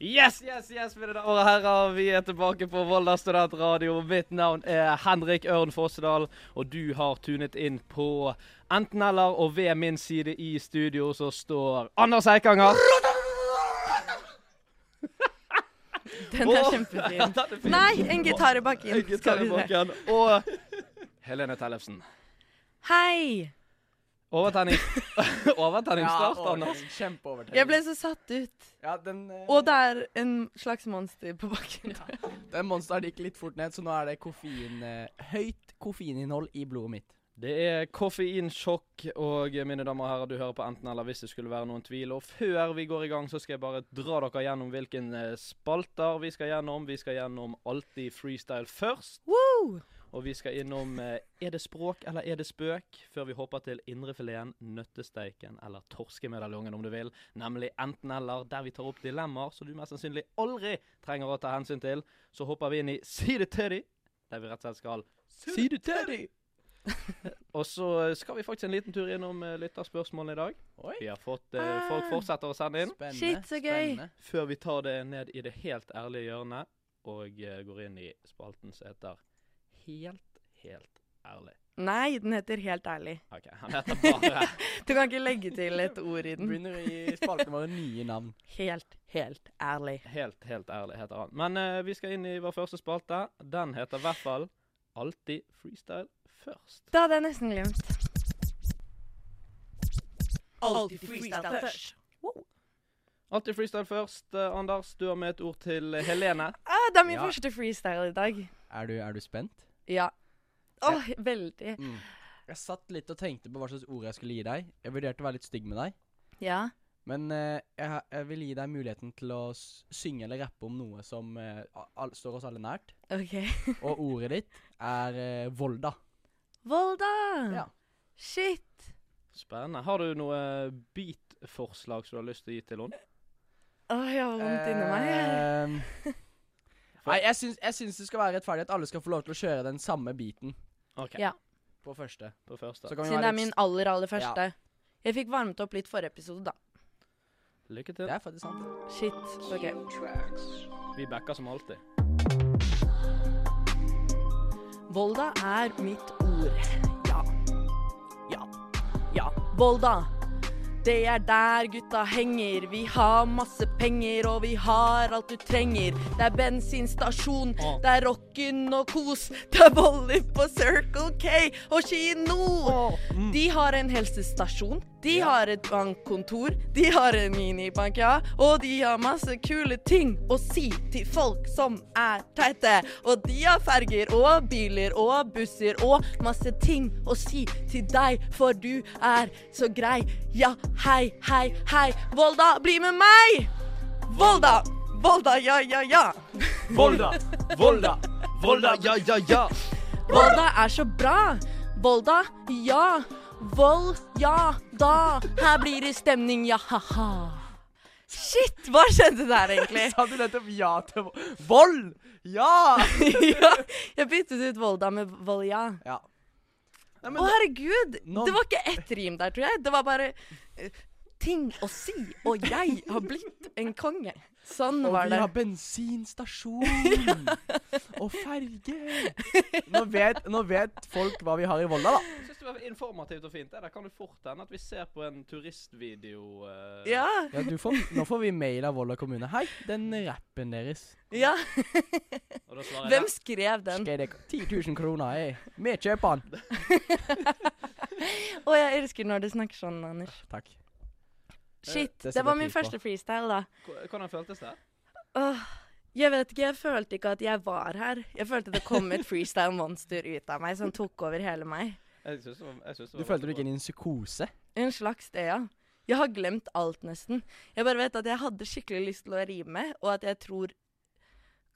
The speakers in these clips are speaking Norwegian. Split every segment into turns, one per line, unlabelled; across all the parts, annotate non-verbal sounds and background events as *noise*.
Yes, yes, yes, mine damer og herrer. Vi er tilbake på Volda studentradio. Mitt navn er Henrik Ørn Fossedal, og du har tunet inn på Enten-eller, og ved min side i studio så står Anders Eikanger.
Den er
Åh.
kjempefin.
Den er fin.
Nei, en gitar i bakken.
Jeg
Skal
gitar i
vi se.
bakken. Og Helene Tellefsen.
Hei! *laughs*
Overtenning. Overtenning start,
overtenning.
Anders.
Kjempeovertenning.
Jeg ble så satt ut.
Ja, den, eh,
Og det er en slags monster på bakken.
den monsteren gikk litt fort ned, så nå er det koffein, eh, høyt koffeininnhold i blodet mitt.
Det er koffeinsjokk, og eh, mine damer og herrer, du hører på enten eller hvis det skulle være noen tvil. Og før vi går i gang, så skal jeg bare dra dere gjennom hvilken eh, spalter vi skal gjennom. Vi skal gjennom Alltid freestyle først,
Woo!
og vi skal innom eh, Er det språk eller er det spøk? Før vi hopper til indrefileten, nøttesteiken eller torskemedaljongen, om du vil. Nemlig enten eller, der vi tar opp dilemmaer som du mest sannsynlig aldri trenger å ta hensyn til. Så hopper vi inn i Si det til de, der vi rett og slett skal
Si det til deg!
*laughs* og så skal vi faktisk en liten tur innom eh, lytterspørsmålene i dag.
Oi.
Vi har fått, eh, Folk
Ah.
fortsetter å sende inn.
Spennende.
Shit, så gøy.
spennende.
Før vi tar det ned i det helt ærlige hjørnet og eh, går inn i spalten som heter Helt, helt ærlig.
Nei, den heter Helt ærlig.
OK, han heter bare
Du kan ikke legge til et ord i den.
Begynner å gi spaltene våre nye navn.
Helt, helt ærlig.
Helt, helt ærlig heter han. Men eh, vi skal inn i vår første spalte. Den heter i hvert fall Alltid freestyle først.
Det hadde jeg nesten glemt.
Alltid freestyle først.
Alltid freestyle først. eh, Anders, du har med et ord til Helene.
Ah, det er min
Ja.
første freestyle i dag.
Er du, er du spent?
Ja. Åh, veldig.
Jeg satt litt og tenkte på hva slags ord jeg skulle gi deg. Jeg vurderte å være litt stygg med deg.
Ja.
Men eh, jeg, ha- jeg vil gi deg muligheten til å s- synge eller rappe om noe som eh, a- all, står oss alle nært.
OK.
Og ordet ditt er eh, Volda.
Volda!
Ja.
Shit.
Spennende. Har du noe beat-forslag som du har lyst til å gi til henne?
Åh, jeg har vondt inni meg.
Ehm, *laughs* Nei, jeg syns, jeg syns det skal være rettferdig at alle skal få lov til å kjøre den samme biten
OK,
Ja.
på første.
på første.
Så kan vi
Siden det
være
er min
litt
aller, aller første. Jeg fikk varmet opp litt forrige episode, da.
Lykke
s-
til.
Det er faktisk sant.
Shit. OK.
Vi backer som alltid.
Volda er mitt ord. Ja. Ja. Ja. Volda. Det er der gutta henger. Vi har masse penger, og vi har alt du trenger. Det er bensinstasjon,
Åh.
det er rocken og kos. Det er boller på Circle K og kino. De har en helsestasjon, de har et bankkontor, de har en minibank, ja. Og de har masse kule ting å si til folk som er teite. Og de har ferger og biler og busser og masse ting å si til deg, for du er så grei. Ja, hei, hei, hei. Volda, bli med meg! Volda! Volda, ja, ja, ja.
Volda! Volda! Volda, ja, ja, ja!
Volda er så bra. Volda, ja. Vold, ja, da. Her blir det stemning, ja, ha-ha. Shit, hva skjedde der
*laughs*
egentlig?
*laughs* Sa du nettopp ja til vo- vold? Ja!
ja, jeg byttet ut Volda med Volja.
ja.
Å,
Nei, men,
herregud.
nå-
Det var ikke ett rim der, tror jeg. Det var bare eh, ting å si. Og jeg har blitt en konge. Sånn
og
var
vi
det.
har bensinstasjon
*laughs*
og ferge. Nå vet, nå vet folk hva vi har i Volda, da.
Jeg syns det var informativt og fint. Det der kan du fort hende at vi ser på en turistvideo eh,
Ja.
Ja, du får, nå får vi mail av Volda kommune. Hei, den rappen deres.
ja.
Og da svarer
Hvem
jeg
skrev den?
Skal det 10 000 kroner, jeg. Vi kjøper den.
Å, jeg elsker når du snakker sånn, Anders.
Takk.
Shit,
Eh, det
det,
setter
var
jeg
min
pris på.
første freestyle, da.
Hva- Hvordan føltes det?
Åh, jeg vet ikke, jeg følte ikke at jeg var her. Jeg følte det kom et freestyle monster ut av meg som tok over hele meg.
Jeg syns det var, jeg synes det
Du
var
følte du gikk
veldig
inn i en psykose?
En slags det, ja. Jeg har glemt alt, nesten. Jeg bare vet at jeg hadde skikkelig lyst til å rime, og at jeg tror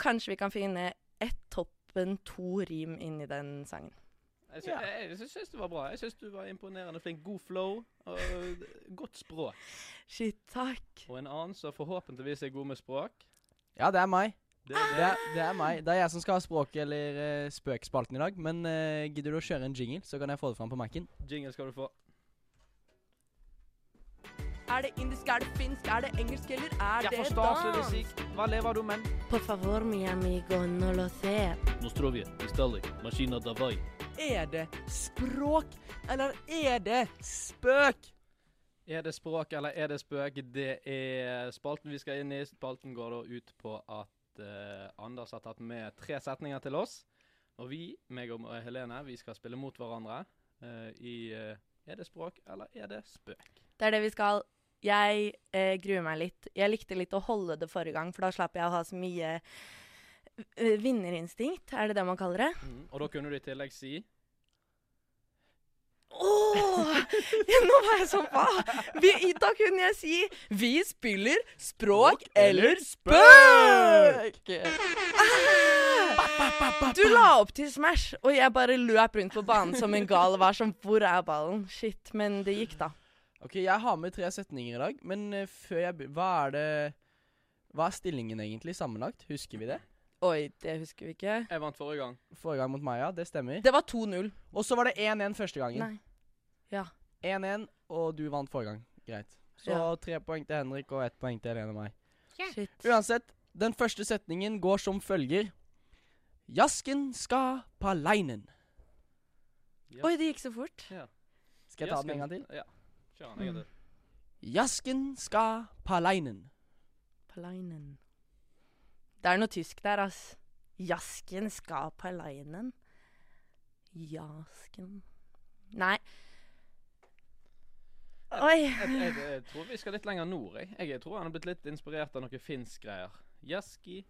kanskje vi kan finne ett toppen to rim inn i den sangen.
bra. Jeg syns, jeg, jeg syns det var bra. Jeg syns du var imponerende flink. God flow og eh, godt språk.
Shit, takk.
Og en annen som forhåpentligvis er god med språk.
Ja, det er meg.
Det er
Det er, det er meg. Det er jeg som skal ha språk- eller eh, spøkspalten i dag. Men eh, gidder du å kjøre en jingle, så kan jeg få det fram på Mac-en.
det. Jingle skal du få.
Er det indisk, er det finsk, er det engelsk, eller er
Jeg
det
forstår ikke
dans?
musikk. Hva lever du med?
Por favor, mi amigo, no lo sé.
Nostrovje, Istalik, Maskina Davai.
Er det språk, eller er det spøk?
Er det språk eller er det spøk? Det er spalten vi skal inn i. Spalten går da ut på at eh, Anders har tatt med tre setninger til oss. Og vi, meg og Helene, vi skal spille mot hverandre eh, i eh, Er det språk eller er det spøk?
Det er det vi skal. Jeg eh, gruer meg litt. Jeg likte litt å holde det forrige gang, for da slapp jeg å ha så mye eh, vinnerinstinkt, er det det man kaller det?
Mhm. Og da kunne du i tillegg si
Åh! *laughs* Nå var jeg sånn, hva? Vi, i- da kunne jeg si 'Vi spiller språk eller spøk'. Ah! Du la opp til Smash, og jeg bare løp rundt på banen som en gal og var sånn 'Hvor er ballen?' Shit, men det gikk, da.
Ok, jeg har med tre setninger i dag, men eh, før jeg be- Hva er det Hva er stillingen egentlig sammenlagt? Husker vi det?
Oi, det husker vi ikke.
Jeg vant forrige gang.
Forrige gang mot Maya, det stemmer.
Det var 2-0.
Og så var det 1-1 første gangen.
Nei. Ja.
1-1, og du vant forrige gang. Greit. Så
Ja.
tre poeng til Henrik og ett poeng til Helene og meg.
Shit.
Uansett, den første setningen går som følger. Jasken skal på leinen.
Oi, det gikk så fort.
Skal jeg ta den en gang til?
Ja. Kjør den en gang til.
Jasken skal på leinen.
Palainen. Det er noe tysk der, ass. Jasken skal palainen. Jasken Nei. Oi.
Jeg, jeg, jeg tror vi skal litt lenger nord. Jeg, jeg tror han har blitt litt inspirert av noe finsk greier. Jaski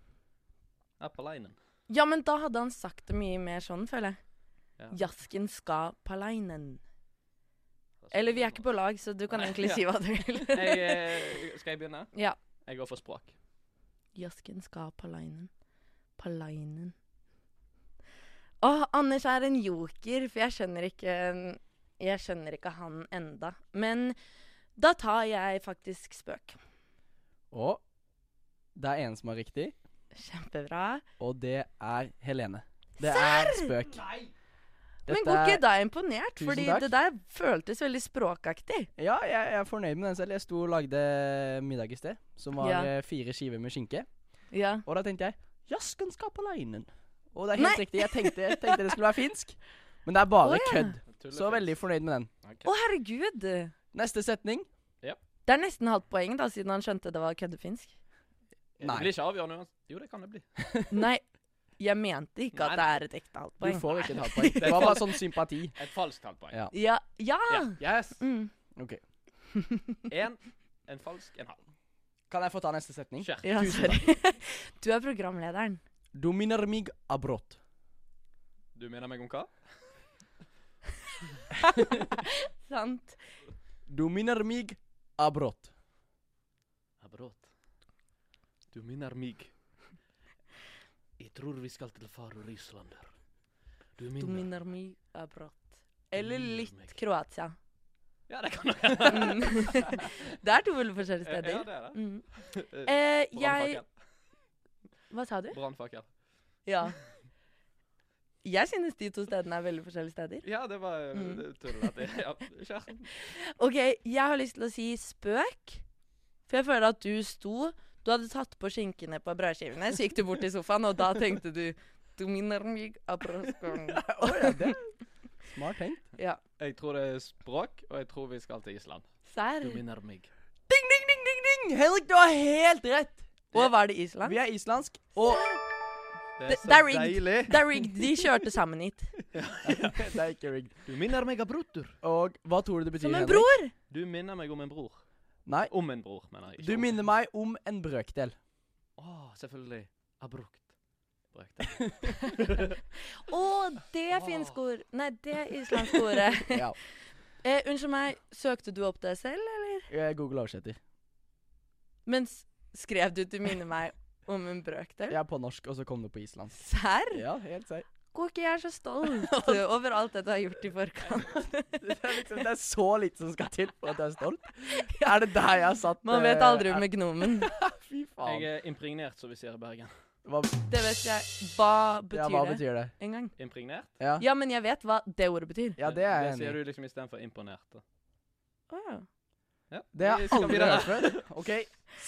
Appalainen.
Ja, men da hadde han sagt det mye mer sånn, føler
Ja.
jeg. Jasken skal palainen. Eller vi er ikke på lag, så du kan
Nei,
egentlig
ja.
si hva du vil. *laughs*
jeg, eh, Skal jeg begynne?
ja.
Jeg går for språk.
Jasken skal palainen. Palainen. Åh, Anders er en joker, for jeg skjønner ikke Jeg skjønner ikke han enda. Men da tar jeg faktisk spøk.
Og det er en som er riktig,
Kjempebra.
og det er Helene. Det er spøk.
Men går ikke da imponert?
Tusen
Fordi
takk.
det der føltes veldig språkaktig.
Ja, jeg, jeg er fornøyd med den selv. Jeg sto og lagde middag i sted, som var
Ja.
eh, fire skiver med skinke.
Ja.
Og da tenkte jeg Jasken skal på leinen. Og det er helt riktig. Jeg tenkte, jeg tenkte det skulle være finsk, men det er bare
Å, ja.
kødd.
Tullefjes.
Så veldig fornøyd med den.
Ok.
Å, herregud! Det
Neste setning.
er nesten halvt poeng, da, siden han skjønte det var køddefinsk.
*laughs*
Det blir ikke avgjørende uansett. Jo, det kan det bli.
Nei, jeg mente ikke at det
Nei,
er et ekte halvt
Du
poeng.
får ikke et halvt poeng. *laughs* Det var bare sånn sympati.
Et falskt halvt poeng.
Ja.
Ja. ja.
Ja. Yes.
Mm.
Ok.
En, en falsk, en halv.
Kan jeg få ta neste setning?
Kjør.
ja
Tusen
sorry. *laughs* Du er programlederen.
Du minner mig abrått.
Du minner meg om hva?
Sant.
Du minner mig abrått.
Abrått. Du minner meg. Jeg tror vi skal til Faro Rislander. Du
Du
minner
minner meg av brått. Eller
minner
litt
meg.
Kroatia.
Ja, det kan nok hende.
Mm. *laughs* det er to
Eh, Ja, det
forskjellige steder.
er det.
Mm.
Eh,
Eh, jeg
Brannfakkel.
Hva sa du?
Brannfakkel.
Ja. Jeg synes de to stedene er veldig forskjellige steder.
Ja, det var eh,
Mm.
det- tullete. Ja, kjør.
OK, jeg har lyst til å si spøk. For jeg føler at du sto Du hadde tatt på skinkene på brødskivene, så gikk du bort til sofaen, og da tenkte du Du minner meg av brått.
Smart tenkt.
Jeg tror det er språk, og jeg tror vi skal til Island.
Serr?
Du minner meg.
Ding, ding, ding, ding, ding! Henrik, du har helt rett!
Og var det Island?
Vi er islandsk, og
Det
Det-
er så
det er rigged.
deilig. *laughs*
Det er rigged. De kjørte sammen hit.
*laughs* Det er ikke rigged.
Du minner meg av brotur.
Og hva tror du det betyr,
Som en
Henrik?
bror!
Du minner meg om en bror.
Nei,
Om en bror, mener jeg.
du minner meg om en *laughs* brøkdel.
Å, selvfølgelig. Abrukt. Brukt. *laughs*
Å, det er finsk ord. Nei, det er islandsk
*laughs*
ordet.
Ja.
Eh, unnskyld meg, søkte du opp det selv?
Jeg Google oversetter.
Men s- skrev du til minne meg om en brøkdel?
Jeg er på norsk, og så kom det på islandsk.
Serr?
Ja, helt serr. *laughs*
Går ikke jeg er så stolt over alt det du har gjort i forkant?
*laughs* Det, er liksom, det er så lite som skal til for at jeg er stolt. Er det der jeg har satt
Man vet
eh,
aldri med gnomen.
er- Fy
Jeg
faen.
*laughs* er impregnert, som vi sier i Bergen.
Hva betyr,
Det vet jeg. Hva
ja, hva
betyr det?
betyr det?
En gang.
Impregnert?
Ja,
Ja, men jeg vet hva det ordet betyr.
ja det er jeg
Det
enig i.
sier du liksom istedenfor imponert. da.
Å ja.
Ja.
Det har
Vi
jeg
skal
aldri
videre.
hørt før. OK,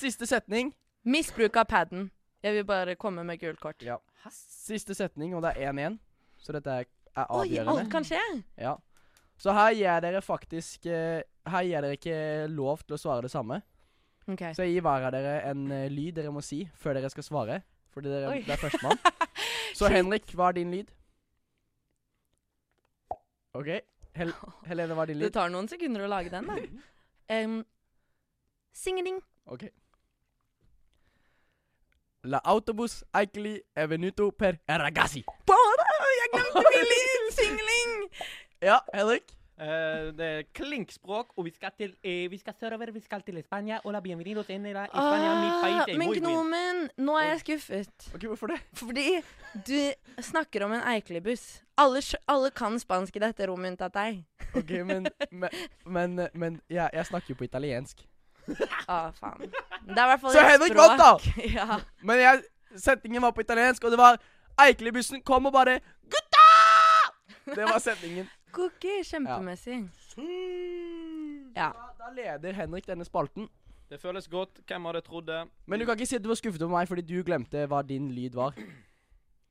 siste setning.
Misbruk av paden. Jeg vil bare komme med gult kort.
Ja. Siste setning, og det er 1 igjen. Så dette er, er
Oi, alt
avgjørende.
kan skje.
Ja. Så her gir dere faktisk eh, Her gir dere ikke lov til å svare det samme.
OK.
Så jeg gir hver av dere en eh, lyd dere må si før dere skal svare. Fordi dere,
Oi.
det er
*laughs*
førstemann. Så Henrik, hva er din lyd? OK. Hel Helene, hva er din
Det
lyd?
tar noen sekunder å lage den,
*laughs*
da. Um, Singeling.
OK. La autobus eikli evenuto per ragazzi.
Bare! Jeg glemte min lyd! Singeling!
Ja, Henrik.
Eh, det er klinkspråk, og vi skal til eh, Vi skal sørover, vi skal til Spania. Hola, bienvenidos en la España, mi país,
Ah,
eh,
men
muy bien.
Gnomen, nå er jeg skuffet.
Ok, Hvorfor det?
Fordi du snakker om en eikelibuss. Alle, skj- alle kan spansk i dette rommet unntatt deg.
Ok, Men, men, men, men ja, jeg snakker jo på italiensk.
Ah, faen. Det er i hvert fall
Så
et
Henrik
språk. *laughs*
vant, da!
Ja.
Men jeg, setningen var på italiensk, og det var Eikelibussen kom og bare Gutta! Det var *laughs* setningen.
Cookie, kjempemessig. Ja.
Da, da leder Henrik denne spalten.
Det føles godt. Hvem hadde trodd det?
Men du kan ikke si at du var skuffet over meg fordi du glemte hva din lyd var.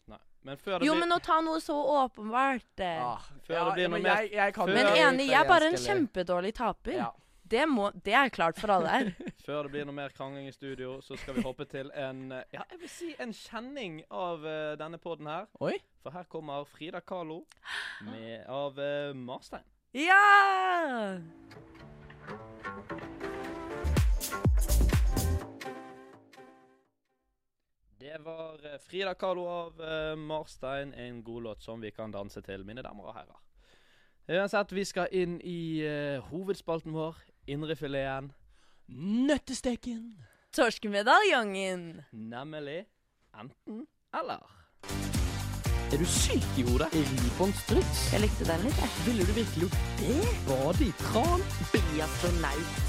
Nei. Men før det
Jo,
blir
men å ta noe så åpenbart eh.
Ah.
Før det blir noe mer-
Jeg, jeg kan
før-
Men
det er
enig, jeg er bare en
italiensk, eller-
kjempedårlig taper.
Ja.
Det, må, det er klart for alle her.
Før det blir noe mer krangling i studio, så skal vi hoppe til en eh, Ja, jeg vil si en kjenning av eh, denne poden her.
Oi.
For her kommer Frida Kahlo med, av eh, Marstein.
Ja!
Det var eh, Frida Kahlo av eh, Marstein, en god låt som vi kan danse til, mine damer og herrer. Uansett, vi skal inn i eh, hovedspalten vår, indrefileten,
Nøttesteken.
Torskemedaljongen.
nemlig enten eller.
Er du syk i hodet? Ribonstruts?
Jeg likte den litt, jeg.
Ville du virkelig gjort det? Bade i kran?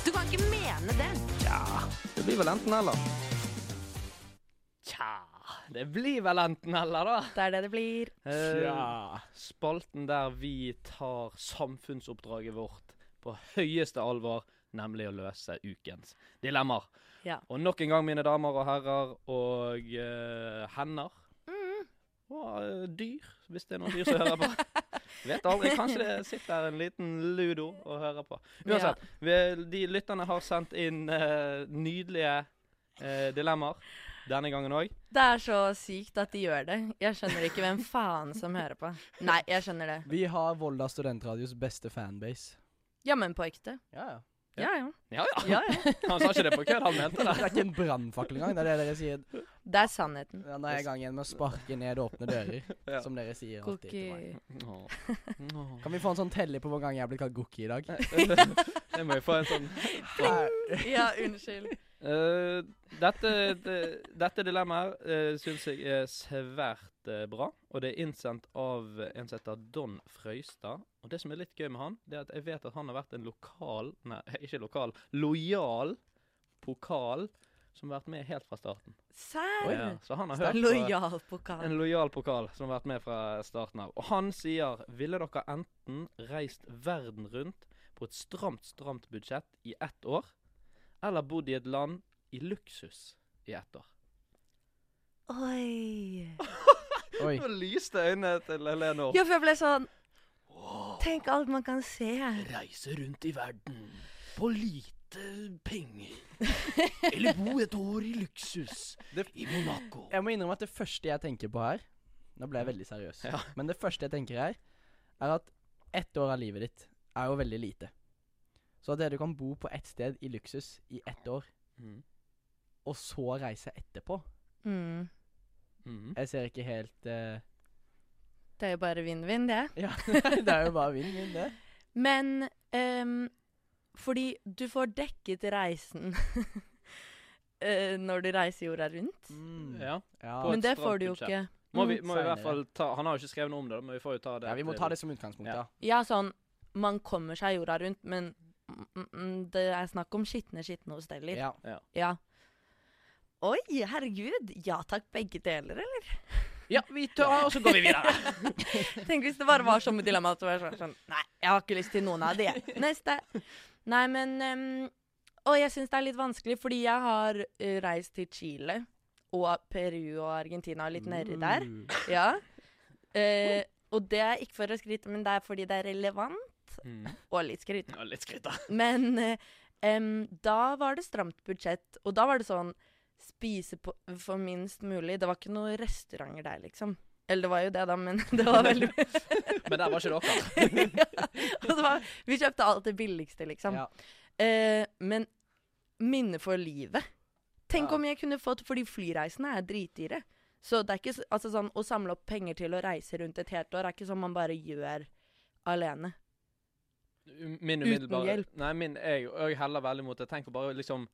Du kan ikke mene det.
Det blir vel enten eller. Tja Det blir vel enten eller, da.
Det er det det blir.
Eh, Spalten der vi tar samfunnsoppdraget vårt på høyeste alvor, nemlig å løse ukens dilemmaer.
Ja.
Og nok en gang, mine damer og herrer, og eh, hender. Og eh, dyr, hvis det er noen dyr som hører på. Vet aldri. Kanskje det sitter en liten ludo og hører på. Uansett, vi, de lytterne har sendt inn eh, nydelige eh, dilemmaer. Denne gangen òg.
Det er så sykt at de gjør det. Jeg skjønner ikke hvem faen som hører på. Nei, jeg skjønner det.
Vi har Volda Studentradios beste fanbase.
Jammen på ekte.
Ja, ja.
Ja, ja.
Ja, ja.
ja, ja.
Han sa ikke det på kødd, han mente det.
*laughs* Det er ikke en brannfakkel engang. Det er det dere sier.
Det er sannheten.
Ja, nå er jeg i gang igjen med å sparke ned åpne dører,
*laughs* Ja.
som dere sier alltid til meg.
Cookie.
Åh. Åh.
Kan vi få en sånn teller på hvor mange ganger jeg blir kalt Gookie i dag?
Jeg må jo få en sånn
Her-
Ja, unnskyld.
Eh, dette, det, dette dilemmaet uh, syns jeg er svært eh, bra, og det er innsendt av eh, en som heter Don Frøystad. Og det som er litt gøy med han, det er at jeg vet at han har vært en lokal Nei, ikke lokal. Lojal pokal som har vært med helt fra starten. Ja,
Serr?
så han har hørt på-
Lojal pokal.
En lojal pokal som har vært med fra starten av. Og han sier ville dere enten reist verden rundt på et stramt, stramt budsjett i ett år, eller bodd i et land i luksus i ett år.
Oi.
Oi.
Nå lyste øynene til Helene opp.
Ja, for jeg ble sånn Tenk alt man kan se.
Reise rundt i verden på lite
*laughs*
penger. Eller bo et år i luksus i Monaco.
Jeg må innrømme at det første jeg tenker på her Nå ble jeg veldig seriøs.
Ja.
Men det første jeg tenker her, er at ett år av livet ditt er jo veldig lite. Så at det du kan bo på ett sted i luksus i ett år,
Mm.
og så reise etterpå
Mm.
Mm.
Jeg ser ikke helt eh,
Det er jo bare vinn-vinn, det.
Ja, *laughs* det er jo bare vinn-vinn, det.
Men ehm, fordi du får dekket reisen *laughs* eh, når du reiser jorda rundt.
Ja.
Mm. Ja.
På et
Men det
stramt
får du jo
budsjett.
ikke.
Må
Mm.
vi, må vi i hvert
Senere.
fall ta Han har jo ikke skrevet noe om det, da, men vi får jo ta det.
ja, vi må
til-
ta det som utgangspunkt,
Ja.
ja.
Ja, sånn Man kommer seg jorda rundt, men mm, mm, mm, det er snakk om skitne, skitne hosteller.
ja.
Ja. Oi, herregud. Ja takk, begge deler, eller? *laughs*
Ja, vi tar, og så går vi videre.
Tenk hvis det bare var
*laughs*
sånne dilemma. Så var jeg sånn, sånn Nei, jeg har ikke lyst til noen av de. jeg. Neste. Nei, men ehm, Og jeg syns det er litt vanskelig, fordi jeg har eh, reist til Chile og Peru og Argentina og *laughs* litt nedi
Mm.
der. Ja. Eh, og det er ikke for å skryte, men det er fordi det er relevant
Mm.
og litt skryt.
Ja, litt skryt, da.
Men eh, em, da var det stramt budsjett, og da var det sånn Spise på, for minst mulig. Det var ikke noen restauranter der, liksom. Eller det var jo det, da, men *laughs* det var veldig
*laughs* Men der var ikke dere. *laughs*
ja. og det var, Vi kjøpte alt det billigste, liksom.
Ja.
Eh, men minne for livet. Tenk
Ja.
om jeg kunne fått Fordi flyreisene er dritdyre. Så det er ikke s- altså sånn, å samle opp penger til å reise rundt et helt år er ikke sånn man bare gjør alene.
Min
Uten
umiddelbare
hjelp.
Nei, min, jeg, jeg heller veldig mot det. Tenk på bare å liksom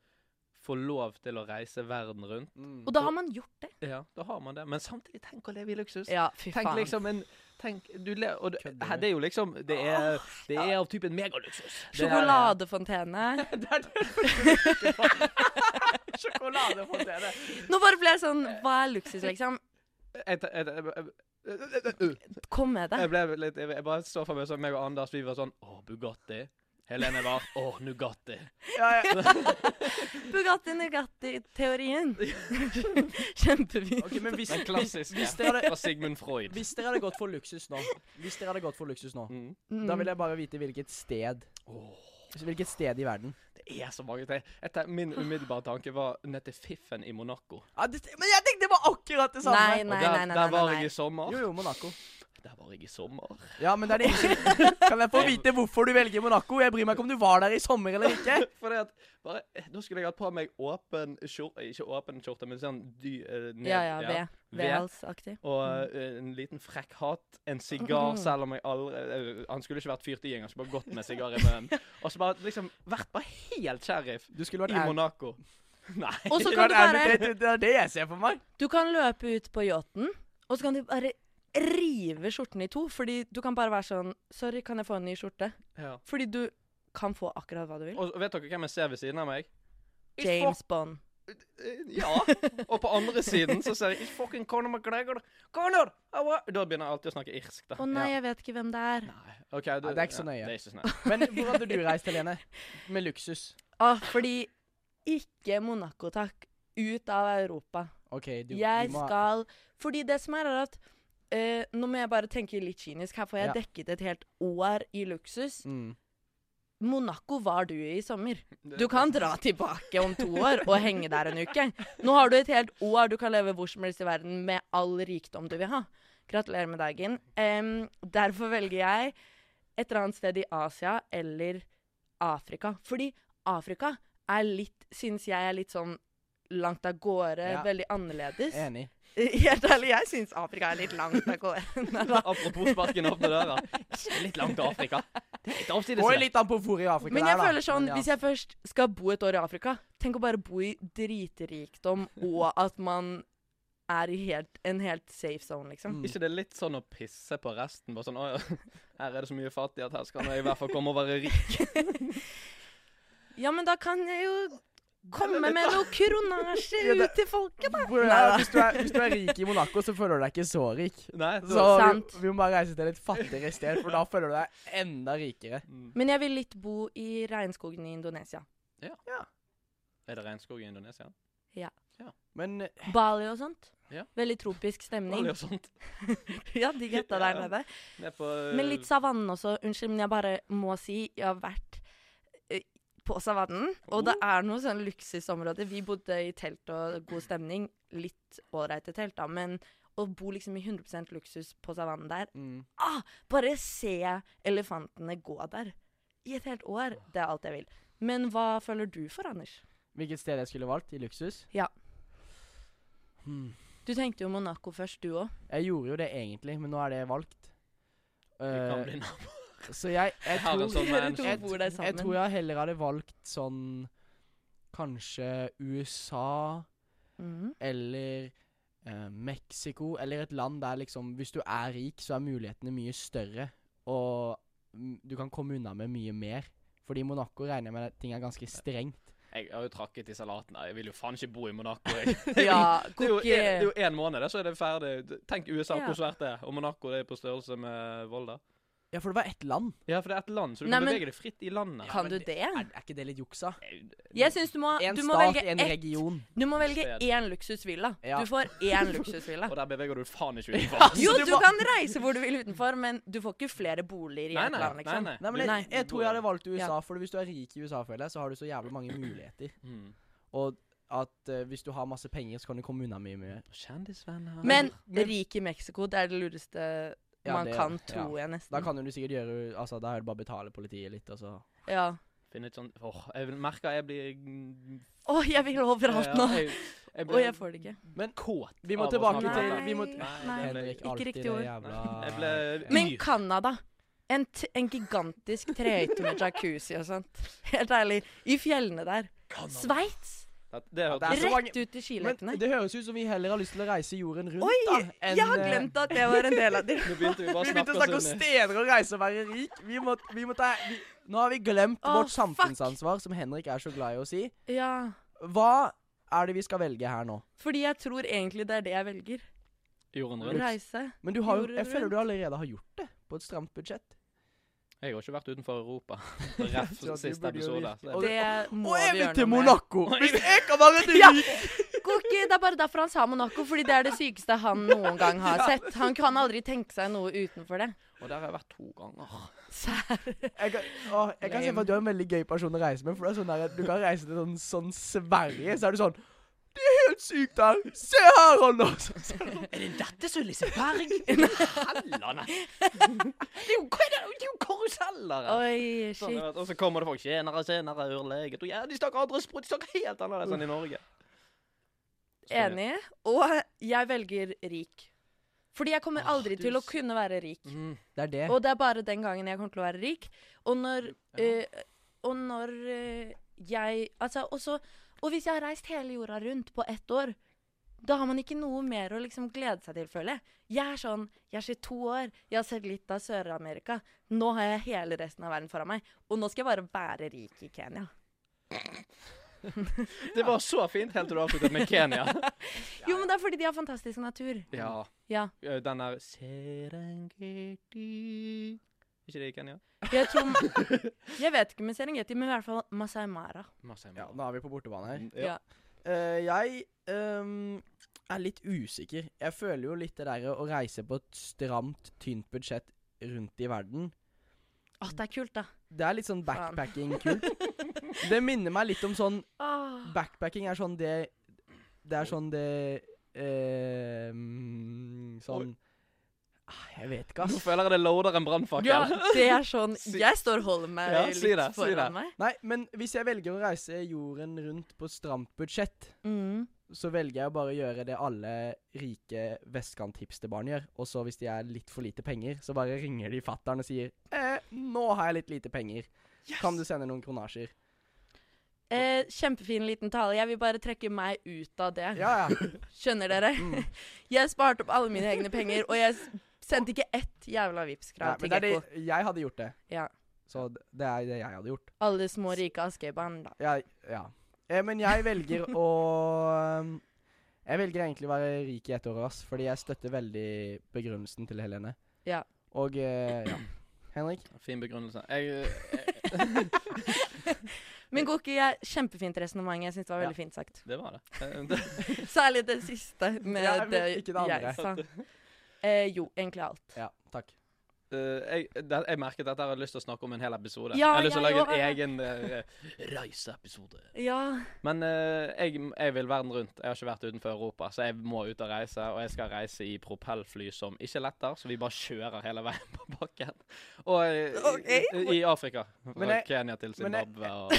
få lov til å reise verden rundt.
Mm. Og da har man gjort det.
Ja, da har man det. Men samtidig, tenk å leve i luksus.
Ja, fy
Tenk
faen.
liksom en tenk, du le, og det,
Kødder
her, det er jo liksom Det er, det er av typen megaluksus. Det er- *laughs*
Sjokoladefontene.
Det er det Sjokoladefontene.
Nå bare ble jeg sånn Hva er luksus, liksom?
Jeg, jeg, jeg, jeg,
Kom med det.
jeg ble litt Jeg, jeg bare så for meg sånn meg og Anders, vi var sånn Å, Bugatti. Helene var Å, Nugatti.
*laughs*
Bugatti Nugatti-teorien. *laughs* Kjempefint.
Ok, men hvis,
Den
hvis,
klassiske
hvis, dere *laughs* hadde,
fra Sigmund Freud.
hvis dere hadde gått for luksus nå Hvis dere hadde gått for luksus nå
Mm.
Da vil jeg bare vite hvilket sted
Åh,
Hvilket sted i verden
det er så mange ting. Jeg tenk- Min umiddelbare tanke var ned til Fiffen i Monaco.
ja, det, Men jeg tenkte det var akkurat det samme
Nei,
Og
nei,
der,
nei. nei,
der
nei,
var
nei.
jeg i sommer.
Jo, jo, Monaco
Der var jeg i sommer. *laughs*
Ja, men det er det ikke *laughs* Kan jeg få vite hvorfor du velger Monaco? Jeg bryr meg ikke om du var der i sommer eller ikke
Fordi at bare, Nå skulle jeg hatt på meg åpen skjorte Ikke åpen skjorte, men sånn dy... eh, ned-
Ja, ja.
ja.
Ved.
Ved. *laughs*
Vedhalsaktig.
Og eh, en liten frekk hatt, en sigar, selv om jeg aldri eh, Han skulle ikke vært fyrt i engang, så bare gått med sigar i munnen. Og så bare liksom vært bare helt sheriff
Du skulle vært
i Monaco. *laughs* Nei.
Og så
Du
kan
vært
du
ærlig,
bare
det, det er det jeg ser for meg
Du kan løpe ut på yachten, og så kan du bare rive skjorten i to. Fordi du kan bare være sånn Sorry, kan jeg få en ny skjorte?
Ja.
Fordi du kan få akkurat hva du vil.
Og vet dere hvem jeg ser ved siden av meg? It's
James Bond.
Eh, Ja. Og på andre siden så ser jeg It's fucking Conor McGregor. Conor! I wa-" Da begynner jeg alltid å snakke irsk. da.
Å nei,
Ja.
jeg vet ikke hvem det er.
Nei. Ok, du,
Nei, det er ikke så
ja,
nøye.
Det er ikke så nøye.
Men hvor hadde du reist, Helene? Med luksus
Ah, fordi Ikke Monaco, takk. Ut av Europa.
Ok, du,
jeg
du må
skal Fordi det som er, er at eh, Nå må jeg bare tenke litt kynisk. Her får jeg
Ja.
dekket et helt år i luksus.
mm.
Monaco var du i sommer.
Det-
Du kan dra tilbake om to år og henge der en uke. Nå har du et helt år du kan leve hvor som helst i verden med all rikdom du vil ha. Gratulerer med dagen. Em, derfor velger jeg et eller annet sted i Asia eller Afrika. Fordi Afrika er litt, syns jeg er litt sånn langt av gårde,
Ja.
veldig annerledes.
Enig
*laughs* Helt ærlig, jeg syns Afrika er litt langt av gårde. Nei da.
*laughs* Apropos sparken åpne døra. Ikke Litt langt til Afrika. Det er litt avsides.
Går
det.
litt an på hvor i Afrika
Men
det er,
jeg
da.
føler sånn,
Men ja.
hvis jeg først skal bo et år i Afrika, tenk å bare bo i dritrikdom
*laughs*
og at man er i helt, en helt safe zone, liksom.
Mm.
Ikke det er litt sånn å pisse på resten? Bare sånn, «Å ja, Her er det så mye fattig at her skal jeg i hvert fall komme og være rik.
Mm.
Ja, men da kan jeg jo komme med noe
*laughs* Ja,
kronasje
det-
ut til folket, da.
Hvor-
Nei, da.
hvis, du er, hvis du er rik i Monaco, så føler du deg ikke så
*laughs*
rik.
*laughs* Nei, så,
Så
Sant.
vi, vi må bare reise til et fattigere sted, for da føler du deg enda rikere.
Mm.
Men jeg vil litt bo i regnskogen i Indonesia.
Er det regnskog i Indonesia?
Men eh,
Bali og sånt.
Ja.
Veldig tropisk
Var
stemning.
det jo sånt?
*laughs* Ja, de gutta der
Ja.
nede.
Ned på
Men litt savannen også. Unnskyld, men jeg bare må si jeg har vært eh, på savannen. Og det
Oh.
er noe sånn luksusområde. Vi bodde i telt og god stemning. Litt ålreite telt, da. Men å bo liksom i 100 luksus på savannen der
mm,
ah, Bare se elefantene gå der i et helt år. Det er alt jeg vil. Men hva føler du for, Anders?
hvilket sted jeg skulle valgt i luksus?
Ja.
Hmm.
Du tenkte jo Monaco først, du òg.
Jeg gjorde jo det egentlig, men nå er det valgt.
Vi kan
Eh,
bli nabo.
så *laughs* jeg, jeg,
har en
tror,
sånn
Dere *laughs*
man
to
shit.
bor der
jeg tror
sammen.
jeg heller hadde valgt sånn Kanskje USA *laughs*
Mhm.
eller eh, Mexico, eller et land der liksom Hvis du er rik, så er mulighetene mye større, og mm, du kan komme unna med mye mer. Fordi i Monaco regner jeg med at ting er ganske strengt.
Jeg har jo trakket i salaten. Jeg vil jo faen ikke bo i Monaco.
*laughs*
Jeg.
Ja,
Det er jo en- det er
kokke.
jo én måned, da, så er det ferdig. Tenk USA,
Ja.
hvor svært det er. Og Monaco det er på størrelse med Volda.
Ja, for det var ett land.
Ja, for det er et land, så du
Nei,
kan
men-
bevege deg fritt i landet.
Kan
men
du
det
det?
Er, er ikke det litt juksa?
Jeg syns du må,
En
du må
stat,
velge
en
ett.
region.
Du må velge
Sted.
én luksusvilla.
Ja.
Du får én
*laughs*
luksusvilla.
Og der beveger du faen
*laughs*
ikke utenfor.
Jo,
du
du
må-
kan reise hvor du vil utenfor, men du får ikke flere boliger i
Nei,
et
nei,
land,
nei.
liksom.
nei.
Nei, men
Du-
jeg, jeg
du
tror
går-
jeg hadde valgt USA,
Ja.
for hvis du er rik i USA, føler jeg, så har du så jævlig mange muligheter.
Mm.
Og at eh, hvis du har masse penger, så kan du komme unna mye mye.
Kjendisvenner.
Men
Men-
rik i Mexico, det er det lureste
Ja,
man
det-
kan,
ja.
tror jeg
Da
nesten.
kan du sikkert gjøre Altså, da er det bare å betale politiet litt, og så
Ja.
Finne et sånt Åh, jeg vil- merker jeg blir mm,
Å, jeg vil overalt nå!
ja, jeg- jeg
Og jeg får det ikke.
Men
kåt.
vi må
av å
tilbake
snakke om
til
dette.
vi må,
Nei,
Nei,
nei.
Henrik,
ikke
alltid
riktig
det
ord.
jævla
Jeg ble
Men
yr.
Canada. En, t en gigantisk trehytte med jacuzzi og sånt. Helt ærlig. I fjellene der. Sveits!
Det- Det
Ja,
hørtes
det er så mange-
Rett ut i skiløypene.
Men det høres ut som vi heller har lyst til å reise jorden rundt,
Oi!
da. enn,
Jeg har
eh,
glemt at det var en del
*laughs*
av det.
Nå begynte vi bare
Vi begynte å snakke om steder og reise og være rik. Vi må, vi må ta, vi, nå har vi glemt
Åh,
vårt
fuck.
samfunnsansvar, som Henrik er så glad i å si.
Ja.
Hva er det vi skal velge her nå?
Fordi jeg tror egentlig det er det jeg velger.
Jorden rundt.
Reise.
Men du har jo,
Jorden
jeg føler
rundt.
du allerede har gjort det på et stramt budsjett.
Jeg har ikke vært utenfor Europa. Rett
Så du
siste
burde jo
episode.
virkelig-
så jeg-
Og-
Det må
og jeg
vi
vil
gjøre
til
noe med.
Monaco! Hvis jeg kan *laughs* være rik!
Koki, det er bare derfor han sa Monaco, fordi det er det sykeste han noen gang har sett. Han kan aldri tenke seg noe utenfor det.
Og der har jeg vært to ganger.
Sær.
Jeg kan, å, jeg kan se for at du er en veldig gøy person å reise med. For det er sånn der, Du kan reise til sånn, sånn Sverige, så er du sånn Det er helt sykt her! Se her, Anders!
Er det dette som er *laughs* Liseberg? Hellene! Det er jo, hva er det, det er jo karuseller! her.
Oi,
Sånn,
shit.
vet du, og så kommer det folk senere, senere, urleget. Og ja, de snakker andre språk, de snakker helt annerledes enn i Norge.
Enig. Og jeg velger rik. Fordi jeg kommer
Åh,
aldri
du
til å
s-
kunne være rik.
Mm.
Det er det.
Og det er bare den gangen jeg kommer til å være rik. Og når eh, Og når eh, jeg Altså, og så Og hvis jeg har reist hele jorda rundt på ett år, da har man ikke noe mer å liksom glede seg til, føler jeg. Jeg er sånn Jeg er 22 år, jeg har sett litt av Sør-Amerika. Nå har jeg hele resten av verden foran meg. Og nå skal jeg bare være rik i Kenya.
Det var så fint helt til du avsluttet med Kenya.
Jo, men det er fordi de har fantastisk natur.
Ja.
Ja.
eh, Den der Serengeti Ikke det i Kenya?
Jeg tror *laughs* Jeg vet ikke med Serengeti, men i hvert fall Masai Mara.
Masse
Ja, nå er vi på bortebane her.
Ja.
Ja.
Mm. Eh, jeg ehm, er litt usikker. Jeg føler jo litt det derre å reise på et stramt, tynt budsjett rundt i verden.
Å, det er kult, da.
Det er litt sånn
Faen.
backpacking-kult. Det minner meg litt om sånn
Åh.
Backpacking er sånn det Det er sånn det ehm, Sånn ah, Jeg vet ikke,
*laughs* Nå
ass.
føler jeg det loader en brannfakkel.
Ja, det er
*laughs*
sånn
Si-
Jeg står og holder meg
Ja,
litt
si det, si
foran
det.
meg.
Nei, men hvis jeg velger å reise jorden rundt på stramt budsjett,
Mm.
så velger jeg å bare gjøre det alle rike vestkant-hipsterbarn gjør. Og så hvis de er litt for lite penger, så bare ringer de fattern og sier eh, 'Nå har jeg litt lite penger. Kan du sende noen kronasjer?'
Eh, kjempefin liten tale. Jeg vil bare trekke meg ut av det.
Ja, ja.
Skjønner dere?
*laughs*
Mm.
Jeg sparte opp alle mine egne penger, og jeg s- sendte ikke ett jævla
Nei,
Vipps-krav til
men det er
Gekko.
det, jeg hadde gjort det.
Ja.
Så d- det er det jeg hadde gjort.
Alle små, rike Askøy-barn,
*laughs*
da.
Ja, ja. Eh, men jeg velger å um, Jeg velger egentlig å være rik i ett år, ass, fordi jeg støtter veldig begrunnelsen til Helene.
Ja.
Og eh, ja. Henrik?
*laughs* Fin begrunnelse. Jeg, eh, jeg,
Men Goki, jeg- kjempefint resonnement. Jeg syns det var veldig
Ja.
fint sagt.
det var det. Eh, *laughs* det.
Særlig det siste med
Ja, men
det,
ikke det andre.
jeg sa. Eh, jo, egentlig alt.
Ja, takk.
Eh, jeg, det, jeg merket at jeg har lyst til å snakke om en hel episode. jeg
Ja,
har lyst til å
jeg
lage en egen
også.
eh, reiseepisode.
Ja.
Men eh, jeg, jeg vil verden rundt. Jeg har ikke vært utenfor Europa, så jeg må ut og reise. Og jeg skal reise i propellfly som ikke letter, så vi bare kjører hele veien på bakken. Og eh,
Ok.
i, i Afrika.
Men
Fra
jeg-
Kenya til
men jeg-
Zimbabwe og
*laughs*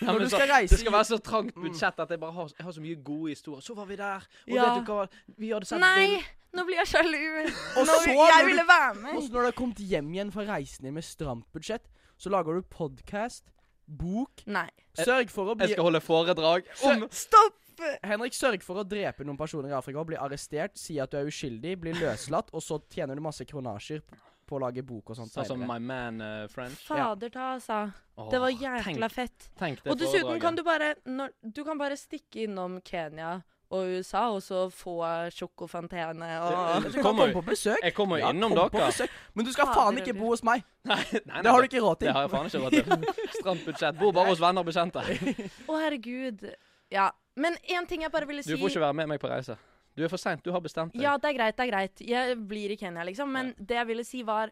Ja, men
Når du
så-
skal reise
det skal
i- Mm.
være så trangt budsjett at jeg bare har, jeg har så mye gode historier. Så var vi der, og
Ja.
vet du hva? Vi hadde sett
Nei! Nå blir jeg sjalu. Nå,
Og så når
jeg
du-
ville være med.
Og så når du har kommet hjem igjen fra reisen din med stramt budsjett, så lager du podkast, bok
Nei.
Sørg for å
Eh, Jeg
bli
skal holde foredrag om
Sør-
Stopp!
Henrik, sørg for å drepe noen personer i Afrika, bli arrestert, si at du er uskyldig, bli løslatt, og så tjener du masse kronasjer på å lage bok og sånt.
Sånn som My
senere.
Man eh, French.
Fader ta, altså. Det var
Åh,
jækla
tenk,
fett.
tenk det
Og dessuten
foredraget.
kan du bare når, Du kan bare stikke innom Kenya og USA, og så få sjokofantene og
Det-
Du
Eh,
kan
Kommer
komme
jo-
Ah. på besøk.
Jeg kommer jo
Ja,
innom
kom på
dere. *laughs*
besøk. Men du skal
Fader,
faen ikke
du.
bo hos meg.
Nei, nei,
Det har
nei,
du ikke råd
Det
til.
har jeg faen ikke råd
*laughs*
til. Stramt budsjett. Bor bare hos venner og bekjente.
Å, herregud. Ja. Men én ting jeg bare ville si
Du får ikke være med meg på reise. Du er for seint. Du har bestemt deg.
Ja, det er greit, det er greit. Jeg blir i Kenya, liksom. Men det jeg ville si, var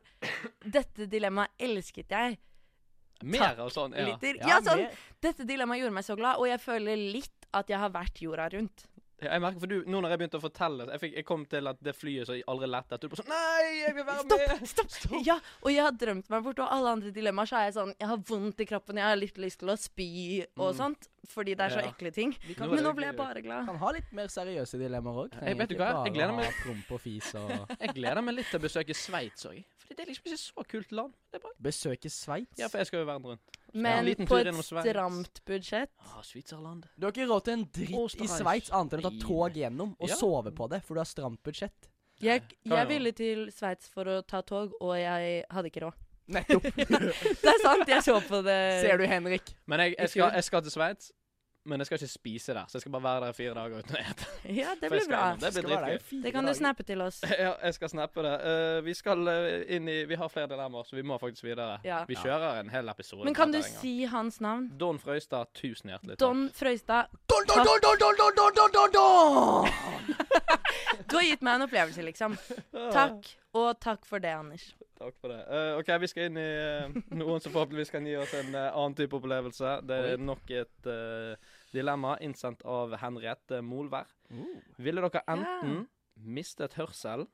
Dette dilemmaet elsket jeg.
Mer av sånn. Ja.
Lytter.
Ja,
Ja, sånn.
det-
Dette dilemmaet gjorde meg så glad, og jeg føler litt at jeg har vært jorda rundt.
Ja, Jeg merker for du, Nå når jeg begynte å fortelle jeg, fikk, jeg kom til at det flyet som aldri lettet Du bare sånn Nei, jeg vil være med! *laughs*
Stopp! Ja, og jeg har drømt meg bort, og alle andre dilemmaer så er jeg sånn Jeg har vondt i kroppen, jeg har litt lyst til å spy og
Mm.
sånt. Fordi det er så
Ja.
ekle ting.
Vi kan,
Nå er
Men
det
nå ble jeg
hyggelig.
bare glad.
kan ha litt mer seriøse dilemmaer òg.
Jeg vet ikke hva, jeg gleder meg.
Promp og fis og
Jeg gleder meg litt til å besøke Sveits òg. Fordi det er liksom ikke så kult land. Det er bare,
Besøke Sveits.
ja, for jeg skal jo verden rundt.
Men
liten
på
tur
et
gjennom Sveits.
stramt budsjett
Ah, Sveitserland.
Du har ikke råd til en dritt i
Osterreich.
Sveits annet enn å ta tog gjennom og
Ja.
sove på det, for du har stramt budsjett.
Jeg,
Ja, ja.
jeg ville til Sveits for å ta tog, og jeg hadde ikke råd.
*laughs* Nettopp.
Det er sant, jeg så på det.
*laughs*
Ser du, Henrik?
Men jeg, jeg,
I
skal,
fjor.
jeg skal til Sveits, men jeg skal ikke spise der. Så jeg skal bare være der i fire dager uten å ete.
Ja, det
For jeg
blir
skal
bra.
innom. Det blir dritgøy.
Det kan du snappe til oss.
*laughs* Ja, jeg skal snappe det. Eh, vi skal eh, inn i Vi har flere dilemmaer, så vi må faktisk videre.
Ja.
Vi kjører en hel episode.
Men kan
på
du
dette en gang.
si hans navn?
Don Frøystad, tusen hjertelig takk.
Don Frøystad,
Don, don, don, don, don, don, don, don, don!
du har gitt meg en opplevelse,
*laughs*
liksom.
Ah.
Takk, og takk for det, Anders.
Takk for det. Eh, OK, vi skal inn i eh, noen som forhåpentligvis kan gi oss en eh, annen type opplevelse. Det er nok et eh, dilemma innsendt av Henriette Molvær. Ville dere enten mistet hørsel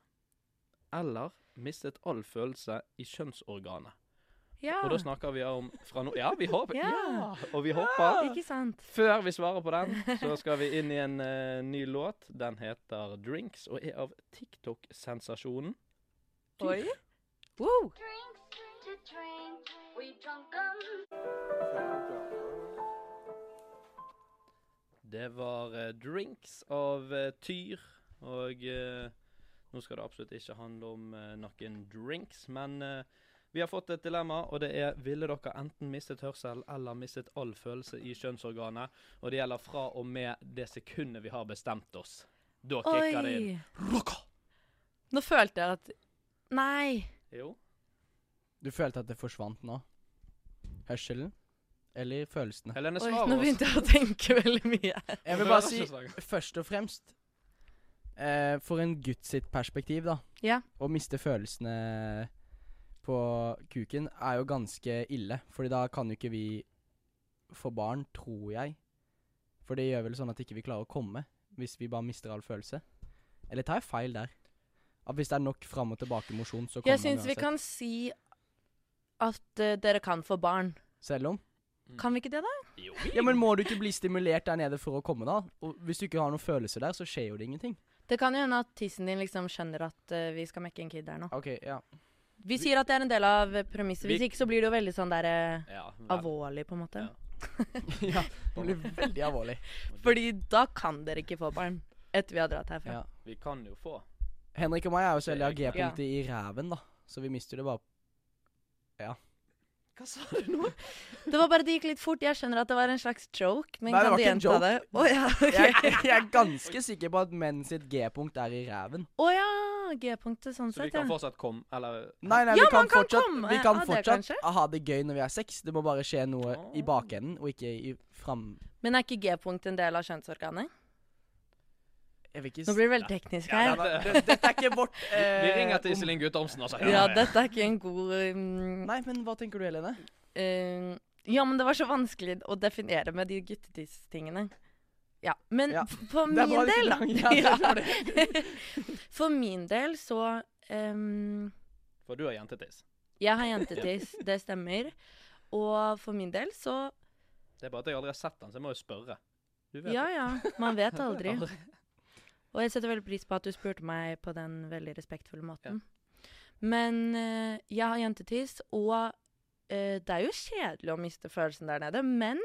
eller mistet all følelse i kjønnsorganet?
Ja.
Og da snakker vi om fra nå Ja, vi håper
Ah. Ja.
Og vi håper
Ikke sant?
Før vi svarer på den, så skal vi inn i en eh, ny låt. Den heter 'Drinks' og er av TikTok-sensasjonen.
Oi. Wow.
Det var eh, 'Drinks' av eh, Tyr. Og eh, nå skal det absolutt ikke handle om eh, noen drinks, men eh, vi har fått et dilemma, og det er ville dere enten mistet hørsel eller mistet all følelse i kjønnsorganet? Og det gjelder fra og med det sekundet vi har bestemt oss. Da kicker det inn.
Oi. Nå følte jeg at Nei.
Jo.
Du følte at det forsvant nå? Hørselen? Eller følelsene?
Helene,
Oi,
svar
nå
oss.
begynte jeg å tenke *laughs* veldig mye.
Jeg vil bare si, først og fremst eh, For en gutt sitt perspektiv, da.
Ja.
Å miste følelsene på kuken er jo ganske ille. Fordi da kan jo ikke vi få barn, tror jeg. For det gjør vel sånn at ikke vi klarer å komme, hvis vi bare mister all følelse. Eller tar jeg feil der? At hvis det er nok fram og tilbake mosjon, så kommer
Jeg syns vi kan si at eh, dere kan få barn.
Selv om
Mm.
Kan vi ikke det, da?
Jo,
Ja, men må du ikke bli stimulert der nede for å komme, da? Og hvis du ikke har noen følelser der, så skjer jo det ingenting.
Det kan jo hende at tissen din liksom skjønner at eh, vi skal mekke en kid her nå.
Ok, ja. *laughs*
Vi sier at det er en del av eh, premisset. Hvis
Vi-
ikke så blir det jo veldig sånn der eh,
Ja, vel.
alvorlig, på en måte.
Ja.
ja det blir veldig alvorlig.
Fordi da kan dere ikke få barn etter vi har dratt herfra.
Ja.
Vi kan jo få.
Henrik og meg er jo så heldige å ha
Ja.
G-punktet i ræven, da. Så vi mister det
*laughs*
bare
Hva sa du nå?
Det var bare det gikk litt fort. Jeg skjønner at det var en slags joke, men
Nei, det
kan
var
du
ikke en
gjenta det? Å ja,
jeg,
ok.
jeg er ganske sikker på at menn sitt G-punkt er i ræven.
Å ja, G-punktet sånn
Så vi
sett,
kan
ja.
fortsatt komme, eller
Nei, nei,
Ja,
vi kan,
man kan
fortsatt,
komme
vi kan
av det,
fortsatt
kanskje?
ha det gøy når vi er seks. Det må bare skje noe i
Ah.
bakenden, og ikke i fram...
Men er ikke G-punkt en del av kjønnsorganet?
Jeg vil
Nå
ikke s-
blir det veldig teknisk
Ja,
Nei,
her.
nei, det- Dette er ikke vårt eh,
*laughs* Vi ringer til
om-
Iselin Guttormsen, altså.
Ja, dette er ikke en god um,
Nei, men hva tenker du, Helene?
Eh, ja, men det var så vanskelig å definere med de guttetiss-tingene. Ja, men
Ja,
f- for
det er
min
bra det ikke
del
*laughs* er lang- ja, det var
Ja. *laughs* For min del så ehm,
For du har jentetiss.
Jeg har jentetiss, det stemmer. Og for min del så
Det er bare at jeg aldri har sett den, så jeg må jo spørre. Du vet
Ja
det.
ja, man vet
*laughs*
aldri.
Aldri.
Og jeg setter veldig pris på at du spurte meg på den veldig respektfulle måten. Men eh, jeg har jentetiss, og eh, det er jo kjedelig å miste følelsen der nede, men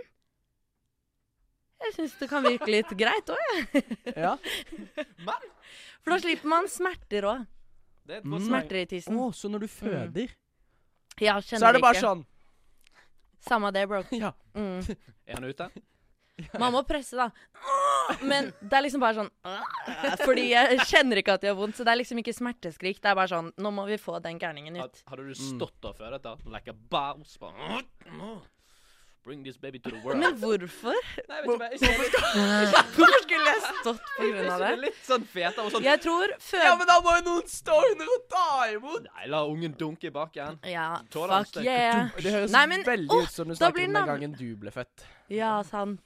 jeg syns det kan virke litt
*laughs*
greit òg,
Ja.
for da slipper man smerter òg.
Det er et
Mm.
godt poeng.
Smerter i
Å,
tissen.
så når du føder,
Ja,
så
Mm. kjenner *laughs*
er det bare
ikke.
sånn
Samme det, bro.
*laughs* Ja.
Mm.
Er han ute?
Man må presse, da. Men det er liksom bare sånn Fordi jeg kjenner ikke at jeg har vondt, så det er liksom ikke smerteskrik. Det er bare sånn Nå må vi få den gærningen ut.
Had- Hadde du
Mm.
stått der før dette? Like a bounce. Bare, Bring this baby to the world.
Men hvorfor?
Nei, vet du hva, jeg synes det er
Hvorfor skulle jeg stått på grunn
*laughs*
av
litt-
det?
litt sånn fete og sånn
Jeg tror fø...
Ja, men da må jo noen stå under og ta imot!
Nei, la ungen dunke i bakken.
Ja,
Toleranse.
fuck yeah.
Det høres
Nei, men-
veldig
Åh,
ut som du
da
snakket
blir
om den
navn-
gangen du ble født.
Ja, sant.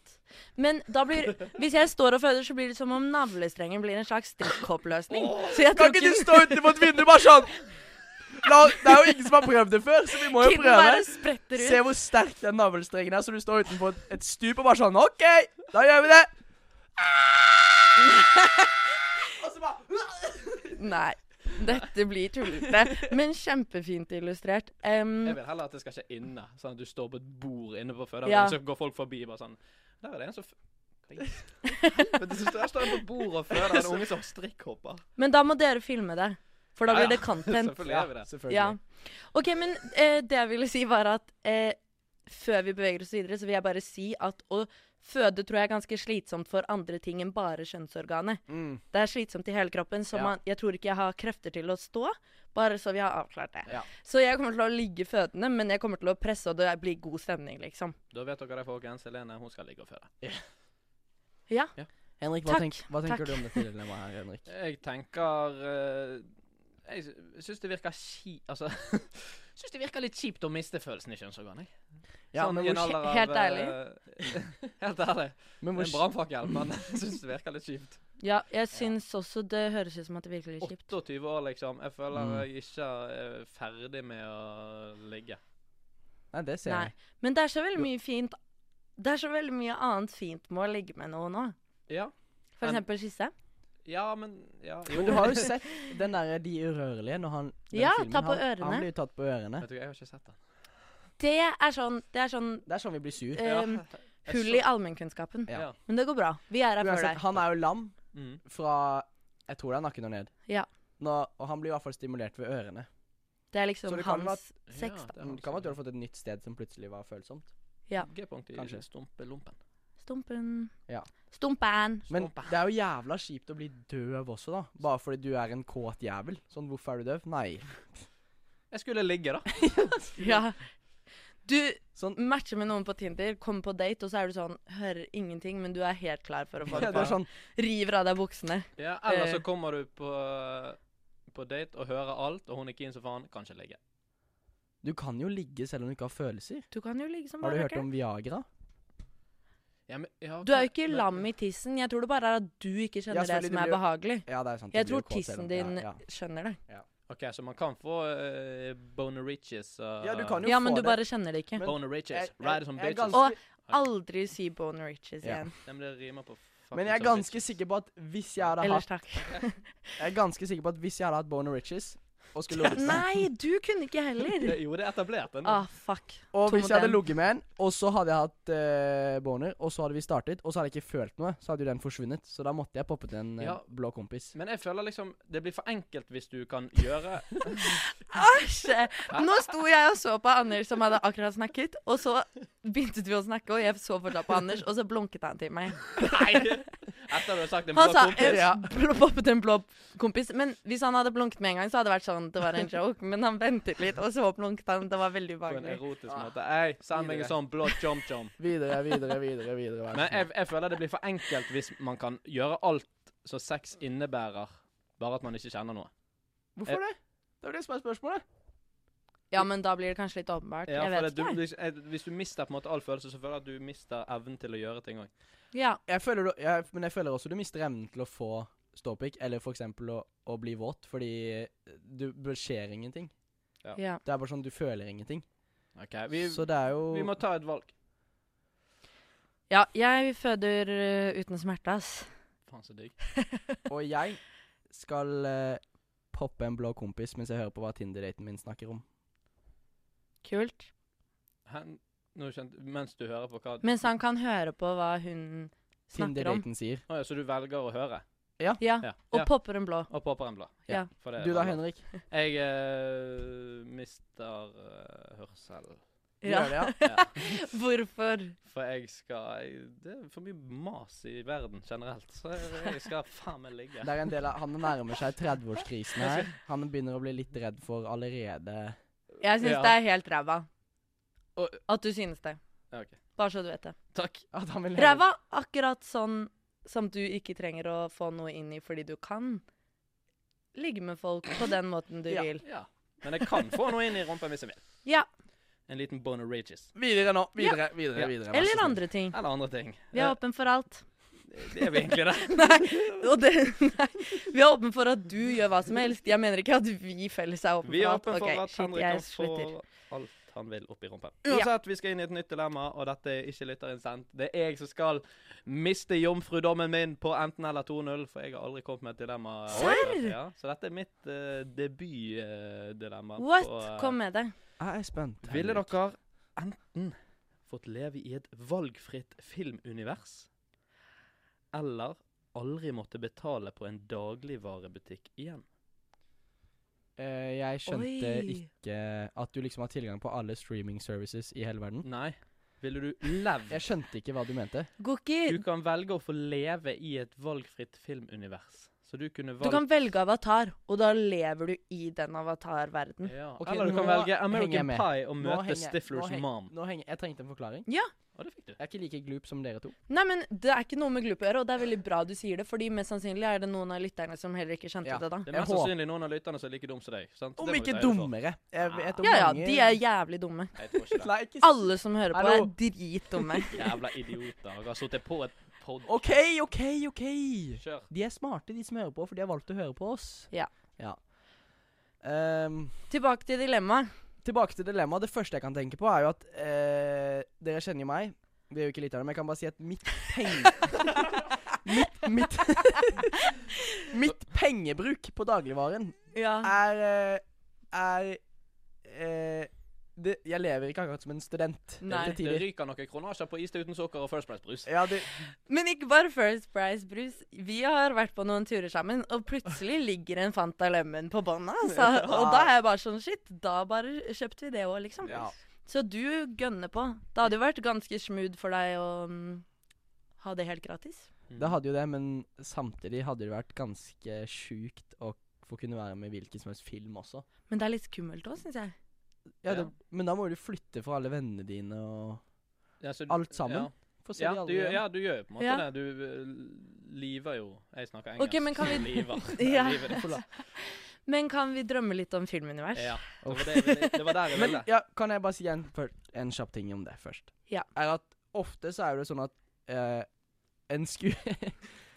Men da blir Hvis jeg står og føder, så blir det som om navlestrengen blir en slags strikkoppløsning. Så jeg tror
Kan ikke
ikke
du stå utenfor et vindu bare sånn? La, det er jo ingen som har prøvd det før, så vi må jo
kinnen bare
prøve.
spretter
Se
ut.
hvor sterk den navlestrengen er, så du står utenfor et- et stup og bare sånn OK, da gjør vi det. Og så bare
Nei. Dette blir tullete, men kjempefint illustrert. Em,
Jeg vil heller at det skal skje inne. Sånn at du står på et bord inne på fødeavdelingen,
Ja.
så går folk forbi bare sånn Der er det en som f- Hva i
*laughs*
helvete? Så Der står en på bordet og føder en unge som
*laughs*
strikkhopper.
men da må dere filme det, for da
Ja,
blir
ja.
det content.
Selvfølgelig gjør vi det.
Selvfølgelig.
Ja. OK, men eh, det jeg ville si, var at eh, før vi beveger oss videre, så vil jeg bare si at å føde tror jeg er ganske slitsomt for andre ting enn bare kjønnsorganet.
Mm.
Det er slitsomt i hele kroppen, så
Ja.
man, jeg tror ikke jeg har krefter til å stå. Bare så vi har avklart det.
Ja.
Så jeg kommer til å ligge fødende, men jeg kommer til å presse, og det blir god stemning, liksom.
Da vet dere det, folkens. Helene, hun skal ligge og føde.
Ja.
Henrik,
Takk,
hva, tenk, hva tenker
takk.
du om dette dilemmaet her, Henrik?
Jeg tenker eh, Jeg sy- syns det virker kji... Altså *laughs* Syns det virker litt kjipt å miste følelsen i kjønnsorganet. jeg. Sånn i en
hvor,
hvor-
alder av,
Helt
eh, *laughs* helt ærlig.
*laughs* men
Det er
hvor,
en brannfakkel, men *laughs* jeg syns det virker litt kjipt.
ja jeg syns også det høres ut som at det virkelig er kjipt.
28 år, liksom. Jeg føler
Mm.
jeg ikke er ferdig med å ligge.
Nei, det ser
Nei.
jeg.
Men det er så veldig mye fint Det er så veldig mye annet fint med å ligge med noen òg.
Ja.
For
Men-
eksempel kysse.
Ja, men Ja, jo.
Men du har jo sett den derre De urørlige når han den
Ja,
filmen,
ta på
han,
ørene.
Han blir jo tatt på ørene.
Vet du, hva, jeg har ikke sett den.
Det er sånn, det er sånn
Det er sånn vi blir sur.
eh,
Ja. Jeg
hull
så-
i allmennkunnskapen.
Ja.
Ja.
Men det går bra. Vi er her for
Uansett,
deg.
han er jo lam
Mm.
fra Jeg tror det er nakken og ned.
Ja.
Nå, og han blir i hvert fall stimulert ved ørene.
Det er
så
liksom
det kan
hans sex,
Ja,
da.
det
Det kan være at du hadde fått et nytt sted som plutselig var følsomt.
Ja.
G-punkt i
Kanskje.
stumpelompen.
Stumpen.
Ja.
Stumpen.
Men
Stumpe.
det er jo jævla kjipt å bli døv også, da. Bare fordi du er en kåt jævel. Sånn, hvorfor er du døv? Nei.
Jeg skulle ligge,
*laughs*
da.
Ja. Du
Sånn.
matcher med noen på Tinder, kommer på date, og så er du sånn Hører ingenting, men du er helt klar for å få
*laughs* Ja,
det
det
på.
er sånn
River av deg buksene.
Ja, eller
Eh.
så kommer du på, på date og hører alt, og hun er keen som faen. Kanskje ligge.
Du kan jo ligge selv om du ikke har følelser.
Du kan jo ligge som
Har du
bare
hørt om Viagra?
Ja, men, ja,
Du er jo
ok,
ikke
men-
lam i tissen. Jeg tror det bare er at du ikke skjønner det
selvfølgelig,
som
det
er
blir jo-
behagelig.
Ja, det er sant.
Jeg
du blir
tror
jo kåt selv
tissen
om-
din
Ja, ja.
skjønner det.
OK, så man kan få uh, boner riches. og-
Ja, du kan jo
Ja,
få
men du
det.
bare kjenner det ikke.
Men-
Boner riches.
Jeg- jeg-
Ride som
jeg er
bitches.
ganske-
Aldri si bone riches
Ja.
igjen.
Nei, men det rimer på fucking
Men jeg er
som
ganske
bitches.
sikker på at hvis jeg hadde
Ellers
hatt
takk.
Jeg er ganske sikker på at hvis jeg hadde hatt Boner Riches
*laughs*
og skulle ligget
Nei, du kunne ikke heller.
Det, jo, det er etablert. Den.
Ah, fuck.
Og
To
hvis
mot
jeg hadde
en.
ligget med en, og så hadde jeg hatt eh, boner, og så hadde vi startet, og så hadde jeg ikke følt noe, så hadde jo den forsvunnet. Så da måtte jeg poppet en eh,
Ja.
blå kompis.
Men jeg føler liksom det blir for enkelt hvis du
*laughs*
kan gjøre
Æsj! Nå sto jeg og så på Anders som hadde akkurat snakket, og så begynte du å snakke, og jeg så fortsatt på Anders, og så blunket han til meg.
Nei! Etter du har sagt en blå
Han sa
kompis.
eh, bl- poppet en blå kompis, men hvis han hadde blunket med en gang, så hadde det vært sånn, det var en joke, men han ventet litt, og så blunket han, det var veldig
På en
ubehagelig.
erotisk måte. Ei, send meg en sånn blå chom-chom.
*laughs*
Videre, videre, videre. videre vær så
Men
snill.
jeg, jeg føler det blir for enkelt hvis man kan gjøre alt som sex innebærer, bare at man ikke kjenner noe.
Hvorfor det? Det er jo det som er spørsmålet.
Ja, men da blir det kanskje litt åpenbart.
Ja, for
Jeg
det,
vet
du,
ikke.
hvis, eh, hvis du mister på en måte all følelse, så føler jeg at du mister evnen til å gjøre ting òg.
Ja.
Jeg føler, du- jeg, men jeg føler også du mister evnen til å få ståpikk, eller for eksempel å, å bli våt, fordi eh, du det skjer ingenting.
ja.
Det er bare sånn, du føler ingenting.
Okay, vi,
så det er jo
vi må ta et valg.
Ja, jeg føder øh, uten smerte, ass.
Faen, så digg.
Og jeg skal eh, poppe en blå kompis mens jeg hører på hva Tinder-daten min snakker om.
Kult.
Hen, nå skjønte, mens du hører på hva
Mens han kan høre på hva hun snakker om.
Tinder-daten sier.
Å ja, Så du velger å høre?
Ja,
Ja.
Og
ja.
popper en blå.
Og popper en blå.
Ja.
For det er
Du da,
veldig bra.
Henrik?
Jeg eh, mister eh, hørsel.
Du
Ja.
gjør det, ja?
*laughs* Hvorfor?
For jeg skal jeg, Det er for mye mas i verden generelt, så jeg, jeg skal faen meg ligge.
Det er en del av, han nærmer seg 30-årskrisen her. *laughs* Han begynner å bli litt redd for allerede
Jeg syns
Ja.
det er helt ræva.
Og-
At du synes det.
Ja, ok.
Bare så du vet det.
Takk.
at han vil leve-
Ræva akkurat sånn som du ikke trenger å få noe inn i fordi du kan ligge med folk på den måten du
Ja.
vil.
Ja. Men jeg kan få noe inn i rumpa hvis jeg vil.
Ja.
En liten bone of rages.
Videre nå. Videre, videre,
Ja.
videre. Vær så
Eller
snill.
andre ting.
Eller andre ting.
Vi er åpne for
*laughs*
alt.
Eh, det er vi egentlig det.
Nei, og det, nei. Vi er åpne for at du gjør hva som helst. Jeg mener ikke at vi felles er åpne
Vi er
for
åpne
alt.
for
Ok,
at
shit,
Henrik
jeg
kan
slutter.
få alt han vil oppi rumpa. Uansett, vi skal inn i et nytt dilemma, og dette er ikke lytteren sendt. Det er jeg som skal miste jomfrudommen min på enten eller 2-0, for jeg har aldri kommet med et dilemma.
Serr?
Ja, så dette er mitt uh, debutdilemma.
What?
på, eh,
Kom med det.
Jeg er spent.
Ville
Henrik.
dere enten fått leve i et valgfritt filmunivers, eller aldri måtte betale på en dagligvarebutikk igjen?
Eh, Jeg skjønte
Oi.
ikke at du liksom har tilgang på alle streaming services i hele verden.
Nei. Ville du levd?
Jeg skjønte ikke hva du mente.
Du
Goki,
kan velge å få leve i et valgfritt filmunivers. Så du kunne
du
valgt
kan velge avatar, og da lever du i den avatar-verden.
ja.
Ok,
Eller du kan
nå
velge
henger jeg
American
med.
Pie og
Nå
møte
henger- nå
Stiflers
henger-
mom.
Nå henger, jeg trengte en forklaring.
Å, det fikk du.
Jeg er ikke like glup som dere to.
Nei, men Det er ikke noe med glup å gjøre, og det er veldig bra du sier det, fordi mest sannsynlig er det noen av lytterne som heller ikke skjønte
Ja.
det da.
Det er
Jeg
mest
håper-
sannsynlig noen av lytterne som er like dum som deg. Sant?
Om
Det må vi ta
ikke
høyde for.
dummere. Jeg vet om
Ja ja,
mange
de er jævlig dumme.
Nei, Jeg tror ikke det.
*laughs* Nei, ikke si-
Alle som hører på, er
Hallo.
dritdumme.
Jævla idioter. Jeg har sittet på et pod...
OK, OK, OK.
Kjør.
De er smarte, de som hører på, for de har valgt å høre på oss.
Ja.
ja. Ehm,
Tilbake til dilemmaet.
tilbake til dilemmaet. Det første jeg kan tenke på, er jo at eh, Dere kjenner jo meg. Vi er jo ikke litt av det, men jeg kan bare si at mitt penge... mitt, mitt, mitt pengebruk på dagligvaren
*laughs* Ja.
er eh, Er eh, det, Jeg lever ikke akkurat som en student
Nei.
til
Det
tider.
ryker noen kronasjer på iste uten sukker og First Price-brus.
Ja, det,
Men ikke bare First Price Brus. Vi har vært på noen turer sammen, og plutselig ligger en Fanta Lemon på bånda. Altså.
*laughs*
Og da er jeg bare sånn Shit, da bare kjøpte vi det òg, liksom.
ja.
Så du gønner på. Det hadde jo vært ganske smooth for deg å mm, ha det helt gratis.
Det hadde jo det, men samtidig hadde det vært ganske sjukt å få kunne være med i hvilken som helst film også.
Men det er litt skummelt òg, syns jeg.
Ja,
Ja.
det, Men da må du flytte fra alle vennene dine og
Ja, så du-
alt sammen. Få se
Ja,
de
ja,
alle
du, gjør-
igjen.
ja, du gjør jo på en måte
Ja.
det. Du eh, liver jo Jeg snakker engelsk.
men
*laughs*
kan vi-
Liver.
Ja.
Liver ditt.
Men kan vi drømme litt om filmunivers?
Ja. Det var, det, jeg ville- det var der jeg
Men
ville.
ja, kan jeg bare si en, før- en kjapp ting om det først?
Ja.
Er at ofte så er det sånn at eh, en sku... *laughs*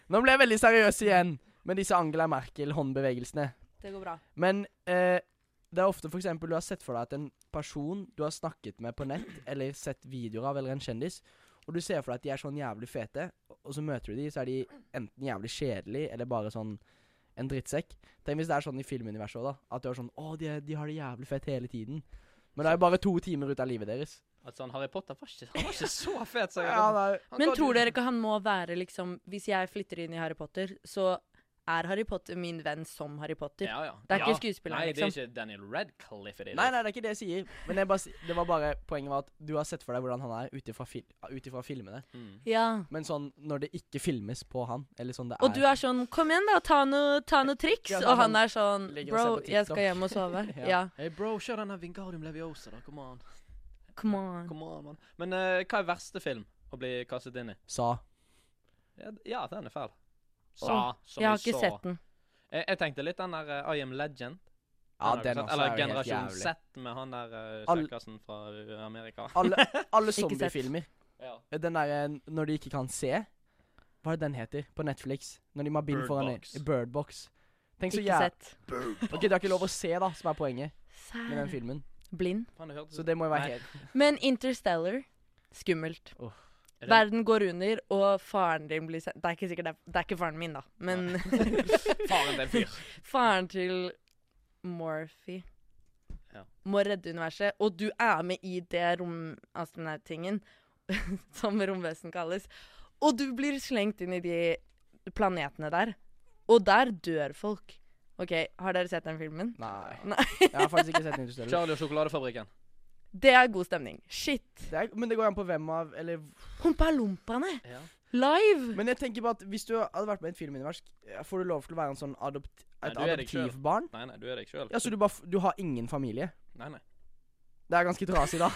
Nå ble jeg veldig seriøs igjen med disse Angela Merkel-håndbevegelsene.
Det går bra.
Men eh, det er ofte for eksempel du har sett for deg at en person du har snakket med på nett, eller sett videoer av, eller en kjendis, og du ser for deg at de er sånn jævlig fete, og så møter du de, så er de enten jævlig kjedelig, eller bare sånn en drittsekk. Tenk hvis det er sånn i filmuniverset òg, da. At du er sånn Å, de, er- de har det jævlig fett hele tiden. Men det er jo bare to timer ut av livet deres.
At sånn Harry Potter var ikke, han var ikke så fet. Så jeg,
Ja, det er,
han
Men
kan jo-
tror dere ikke han må være liksom Hvis jeg flytter inn i Harry Potter, så er Harry Potter min venn som Harry Potter?
ja, ja.
Det er
ja.
ikke skuespilleren,
Nei, det er
liksom.
ikke Daniel Radcliffe. Det liksom. er
Nei,
det.
nei, det er ikke det jeg sier. Men jeg bare, si- det var bare poenget var at du har sett for deg hvordan han er ut ifra fil, ut ifra filmene.
Mm.
ja.
Men sånn når det ikke filmes på han, eller sånn det
Og du er sånn 'kom igjen, da, ta noe, ta noe triks'.
Ja,
og han
han
er sånn
ligger og
'bro,
ser
jeg
på TikTok».
skal hjem og sove'.
*laughs* Ja.
ja.
Hey bro, kjør denne Vingardium Leviosa, da. Come on.
Come on.
Come on man. Men eh, hva er verste film å bli kastet inn i?
Sa.
Ja, d- Ja, den er fæl. Sa, som
Jeg
i
har ikke
sa.
sett den.
Jeg, jeg tenkte litt den der eh, I Am Legend.
Ja,
har du
den
sett.
også
Eller
er jo helt
Generasjon
jævlig.
Z med han der eh,
All-
kjekkasen fra eh, Amerika.
Alle, alle
sett.
zombiefilmer.
*laughs* Ja.
Den derre når de ikke kan se Hva er det den heter på Netflix? Når de må ha bind
Bird
foran
Box.
øy- Bird Box. Tenk så
Ikke
jævlig
sett.
Ok, det er ikke lov å se, da, som er poenget med den
Sær.
filmen.
Blind.
Faen, det hørtes
Så det må jo
Nei.
være helt
Men Interstellar skummelt.
Er det-
Verden går under, og faren din blir sendt Det er ikke sikkert det er, det er ikke faren min, da,
*laughs*
*laughs* men
Faren til en fyr.
*laughs*
faren til Morphy
Ja.
må redde universet, og du er med i det romastronauttingen, *laughs* som romvesen kalles, og du blir slengt inn i de planetene der, og der dør folk. Ok, har dere sett den filmen?
Nei.
Nei.
Jeg har faktisk ikke sett Interstellar.
Charlie og sjokoladefabrikken.
Det er god stemning. Shit.
Det er, men det går an på hvem av Eller
Humpalompaene
Ja.
live!
Men jeg tenker bare at hvis du hadde vært med i et filmunivers, eh, får du lov til å være en sånn adopt,
Nei,
et
du er deg selv.
adoptivbarn?
Nei, nei, du er deg sjøl.
Ja, så du, bare, f- du har ingen familie?
Nei, nei.
Det er ganske trasig, da.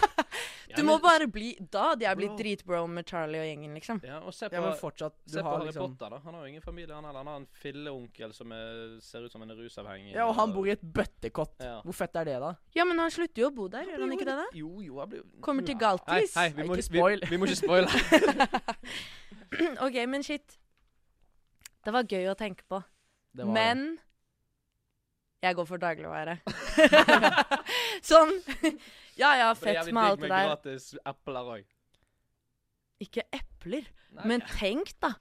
Du
Ja,
må
men-
bare bli Da hadde jeg blitt
Bro.
dritbro med Charlie og gjengen, liksom.
Ja, og se på,
Ja, men fortsatt, du
se på
har
Harry
liksom
Potter, da. Han har jo ingen familie, han heller. Han har en filleonkel som er, ser ut som en rusavhengig.
Ja, og han bor i et bøttekott.
Ja.
Hvor fett er det, da?
Ja, men han slutter jo å bo der, gjør han ikke det? da?
Jo, jo, han blir jo
Kommer til
Ja.
Galtis.
Hei, hei, vi må
Ikke
ikke
spoil.
spoile. Vi, vi må ikke
*laughs*
spoile.
OK, men shit. Det var gøy å tenke på.
Det var-
Men jeg går for dagligvare. *laughs* sånn. Ja ja,
For det er
fett
jævlig
med alt
digg
det der.
Gratis epler òg.
Ikke epler. Men tenk, da.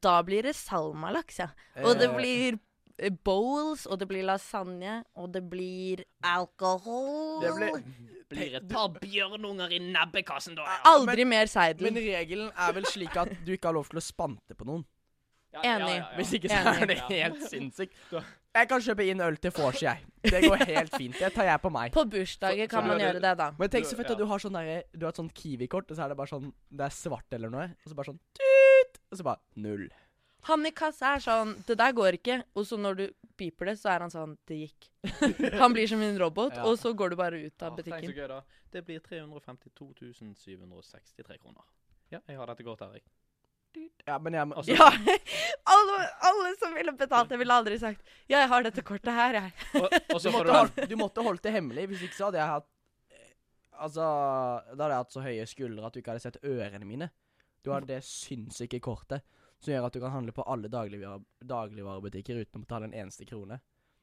Da blir det salmalaks, ja.
Eh,
Og det blir eh, bowls, og det blir lasagne, og det blir alkohol.
det ble,
*laughs* Blir et par bjørnunger i nebbekassen, da.
Aldri mer
Men
seidel.
regelen er vel slik at du ikke har lov til å spante på noen.
Enig.
*laughs*
Hvis ikke så er det helt sinnssykt. Jeg kan kjøpe inn øl til vors, jeg. Det går helt fint. Det tar jeg på meg.
På bursdager
Så-
kan
så
man
du er
gjøre det, da.
Men tenk så
Du-
fett
ja.
at du har sånn derre- Du har et sånt Kiwi-kort, og så er det bare sånn Det er svart eller noe, og så bare sånn tut, Og så bare null.
Han i kassa er sånn 'Det der går ikke.' Og så når du beeper det, så er han sånn 'Det gikk'. *laughs* Han blir som en robot,
Ja.
og så går du bare ut av
Åh, tenk så
butikken.
gøy, da. Det blir 352 763 kroner. Ja, jeg har dette godt,
*laughs*
Erik.
Ja, men jeg må
Altså-
Ja. *laughs* Alle, alle som ville betalt det, ville aldri sagt 'Ja, jeg har dette kortet her, jeg'.
Og, og
du,
så får du
måtte
den.
holdt, du måtte holdt det hemmelig, hvis ikke så hadde jeg hatt eh, Altså Da hadde jeg hatt så høye skuldre at du ikke hadde sett ørene mine. Du har det sinnssyke kortet som gjør at du kan handle på alle dagligvare, dagligvarebutikker uten å betale en eneste krone.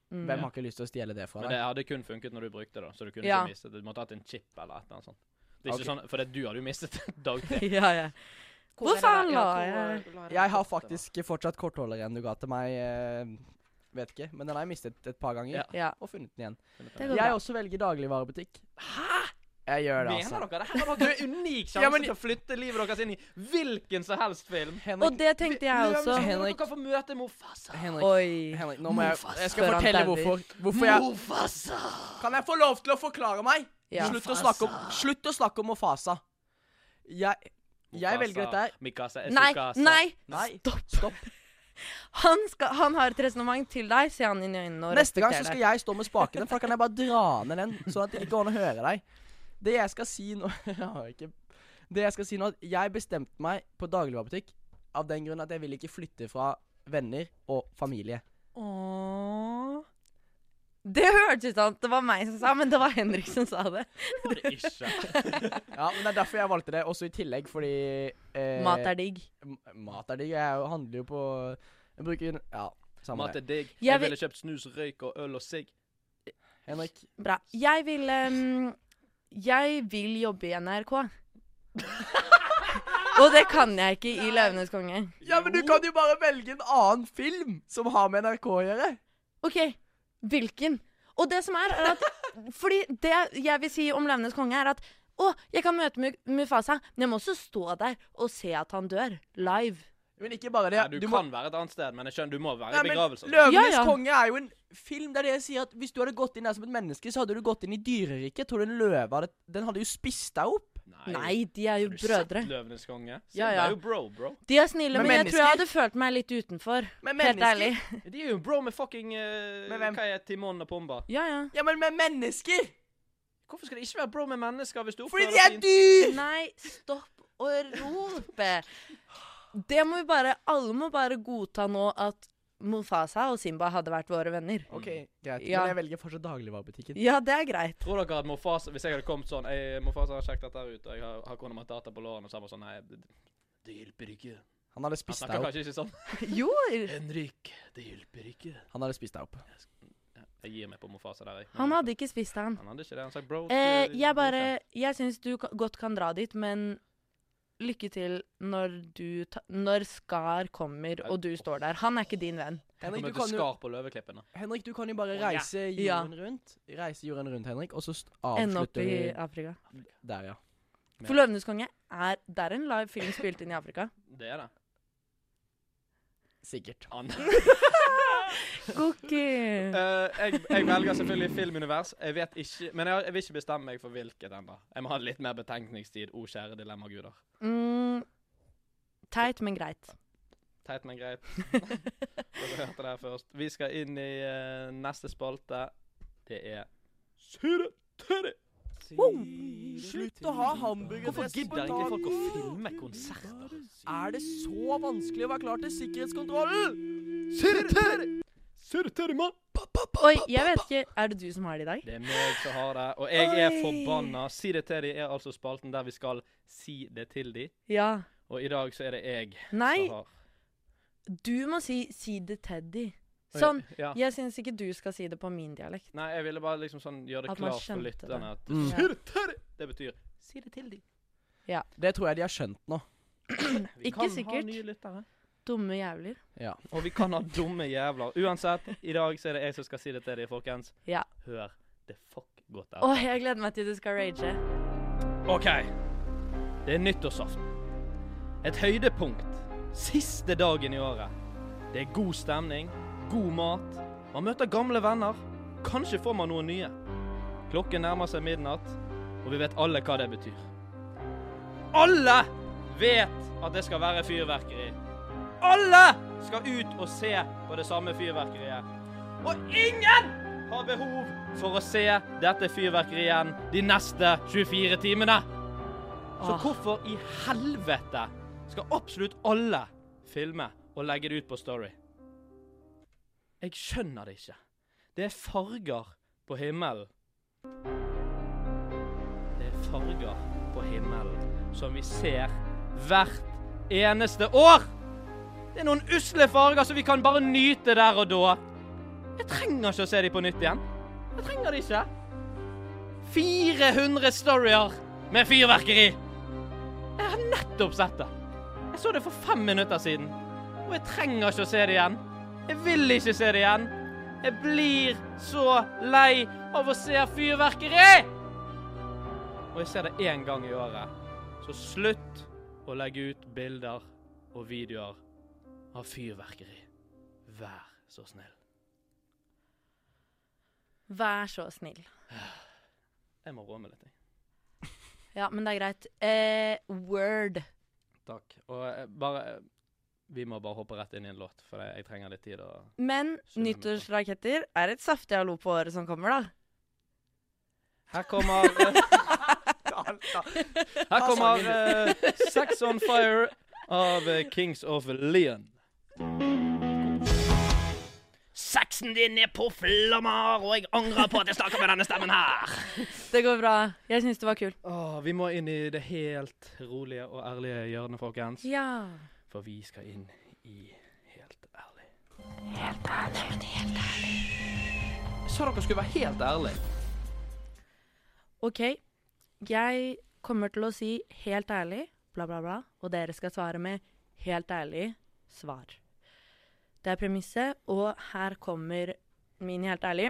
Mm.
Hvem har ikke lyst til å stjele det fra
Men
deg?
det hadde kun funket når du brukte det, så du kunne
Ja.
ikke mistet det. Du måtte hatt en chip eller et eller annet sånt. Det er ikke
Ok.
sånn, For det, *laughs* du hadde jo mistet dag tre.
*laughs* Ja, ja. Hvor faen la jeg-
Jeg har faktisk fortsatt kortholderen du ga til meg. Eh, vet ikke, men den har jeg mistet et par ganger.
Ja.
ja.
Og funnet den igjen.
Det går
Jeg
bra.
også velger dagligvarebutikk. Hæ? Jeg gjør det,
Mener
altså.
dere? Her har dere en unik sjanse
Ja, men-
til å flytte livet deres inn i hvilken som helst film.
Og det tenkte jeg også.
Dere
Henrik-
kan få møte Mofasa.
Henrik,
Oi.
Henrik, nå må jeg,
Mofasa.
jeg skal
Før han
fortelle
dauer.
hvorfor. hvorfor jeg,
Mofasa!
kan jeg få lov til å forklare meg?
Ja.
Slutt, å snakke om, slutt å snakke om Mofasa. Jeg, jeg velger dette her.
Mikasa er
Nei,
Sukasa.
nei,
Nei,
stopp.
stopp.
Han, skal, han har et resonnement til deg. Se han inn i øynene og
Neste gang så
respekter
skal
deg.
jeg stå med spakene, for da kan jeg bare dra ned den, sånn at det ikke går an å høre deg. Det jeg skal si nå *laughs* Jeg har ikke Det jeg skal si nå, er at jeg bestemte meg på dagligvarebutikk av den grunn at jeg vil ikke flytte fra venner og familie.
Åh. Det hørtes ut som at det var meg som sa, men det var Henrik som sa det.
*laughs* Det er ikke.
*laughs* Ja, men Det er derfor jeg valgte det, også i tillegg fordi eh,
Mat er digg.
m- Mat er digg. Jeg handler jo på Jeg bruker Ja, samme
Mat
det.
er digg.
Jeg
Jeg
vil-
ville kjøpt snus, røyk og øl og sigg.
Henrik.
Bra. Jeg vil ehm, Jeg vil jobbe i NRK. Og det kan jeg ikke i Løvenes konge.
Ja, men du kan jo bare velge en annen film som har med NRK å gjøre.
OK, hvilken? Og det som er, er at Fordi det jeg vil si om Løvenes konge, er at å, jeg kan møte Mu- Mufasa, men jeg må også stå der og se at han dør. Live.
Men ikke bare det.
Nei, du,
må-
kan være et annet sted, men jeg skjønner du må være
Nei,
i
men
begravelser.
Løvenes
Ja, ja.
konge er jo en film. Det er det jeg sier at Hvis du hadde gått inn der som et menneske, så hadde du gått inn i dyreriket. Tror du en løve hadde Den hadde jo spist deg opp.
Nei, de er jo
Har du
brødre.
sett Løvenes konge? Se,
Ja,
Det
ja.
er jo bro, bro.
De er snille,
Men
men, jeg tror jeg
mennesker-
hadde følt meg litt utenfor.
Men
Helt ærlig.
De er jo bro med fucking eh,
Med hvem?
Hva er Timon og Pumba?
Ja, ja.
Ja, men med mennesker!
Hvorfor skal det ikke være bro med mennesker hvis du
Fordi
oppfører
de er
fint?
dyr!
Nei, stopp å rope. Det må vi bare Alle må bare godta nå at Mufasa og Simba hadde vært våre venner.
OK, greit.
Ja.
Men jeg velger fortsatt dagligvarebutikken.
Ja, det er greit.
Tror dere at Mofasa Hvis jeg hadde kommet sånn «Ei, Mofasa har sjekket dette her ut, og jeg har, har kona mi data på lårene, og så hadde han sånn Nei, det, det hjelper ikke.
Han hadde
Han
spist
snakker
deg opp.
kanskje ikke sånn.
Jo.
Henrik, det hjelper ikke.
Han hadde spist deg opp.
Ja, Jeg gir meg på Mofasa der, jeg. Men
Han hadde ikke spist han.
han hadde ikke det. Han sa bro.
Eh,
til-
jeg bare Jeg syns du ka- godt kan dra dit, men lykke til når du ta, Når Skar kommer og du står der. Han er ikke din venn.
Jeg kommer
Henrik, du
til
kan jo,
skar på løveklippene.
Henrik, du kan jo bare
Å, ja.
reise
Ja.
jorden rundt. Reise jorden rundt, Henrik, og så st-
Ende opp
avslutter
i
du
Afrika.
der, ja.
For 'Løvenes konge' er, det er en live film spilt inn i Afrika.
Det er det.
*laughs* Sikkert.
Han
Cookie.
Eh, jeg, jeg velger selvfølgelig filmunivers. Jeg vet ikke, men jeg, har- jeg vil ikke bestemme meg for hvilket ennå. Jeg må ha litt mer betenkningstid. O kjære dilemmaguder.
Mm, teit, men greit.
Teit, men greit. Dere hørte det her først. Vi skal inn i eh, neste spalte. Det er Syre Teddy.
Slutt å ha hamburger
Hvorfor gidder ikke folk å filme konserter?
Er det så vanskelig å være klar til sikkerhetskontrollen?
Syre Teddy! Syre Teddy, mann!
Oi, jeg vet ikke Er det du som har det i dag?
Det er meg som har det, og jeg er
Oi.
forbanna. Si det til de er altså spalten der vi skal si det til de.
Ja.
Og i dag så er det jeg
Nei,
som har
du må si 'si det Teddy'.
Oi,
Sånn.
Ja.
Jeg syns ikke du skal si det på min dialekt.
Nei, jeg ville bare liksom sånn gjøre det
At man
klart for
skjønte
lytterne at
Mm.
Syre Teddy! Det betyr
Si det til de.
Det tror jeg de har skjønt nå.
vi
Ikke
kan ha
sikkert.
nye lyttere.
Dumme jævler.
Ja.
Og vi kan ha dumme jævler. Uansett, i dag så er det jeg som skal si det til de, folkens.
Ja.
Hør det fuck godt
Å,
etter.
jeg gleder meg til du skal rage.
OK. Det er nyttårsaften. Et høydepunkt. Siste dagen i året. Det er god stemning, god mat. Man møter gamle venner. Kanskje får man noen nye. Klokken nærmer seg midnatt, og vi vet alle hva det betyr. Alle vet at det skal være fyrverkeri. Alle skal ut og se på det samme fyrverkeriet. Og ingen har behov for å se dette fyrverkeriet igjen de neste 24 timene. Så
Åh.
hvorfor i helvete skal absolutt alle filme og legge det ut på Story? Jeg skjønner det ikke. Det er farger på himmelen. Det er farger på himmelen som vi ser hvert eneste år. Det er noen usle farger som vi kan bare nyte der og da. Jeg trenger ikke å se dem på nytt igjen. Jeg trenger det ikke. 400 storier med fyrverkeri. Jeg har nettopp sett det. Jeg så det for fem minutter siden. Og jeg trenger ikke å se det igjen. Jeg vil ikke se det igjen. Jeg blir så lei av å se fyrverkeri! Og jeg ser det én gang i året. Så slutt å legge ut bilder og videoer av fyrverkeri. Vær så snill.
Vær så snill.
Jeg må rå med litt. jeg.
Ja, men det er greit. Eh, word.
Takk. Og eh, bare eh, Vi må bare hoppe rett inn i en låt, for jeg jeg trenger litt tid å Skjønner
Men
meg.
nyttårsraketter er et saftig hallo på året som kommer,
*laughs*
da.
Her kommer eh, Her kommer eh, Sex on Fire av eh, Kings of Leon. Sexen din er på flammer, og jeg angrer på at jeg snakker med denne stemmen her.
*laughs* Det går bra. Jeg syns det var kult.
vi må inn i det helt rolige og ærlige hjørnet, folkens.
Ja.
For vi skal inn i Helt ærlig. Helt ærlig. Jeg sa dere skulle være helt ærlig.
OK. Jeg kommer til å si helt ærlig, bla, bla, bla, og dere skal svare med helt ærlig svar. Det er premisset, og her kommer min helt ærlig.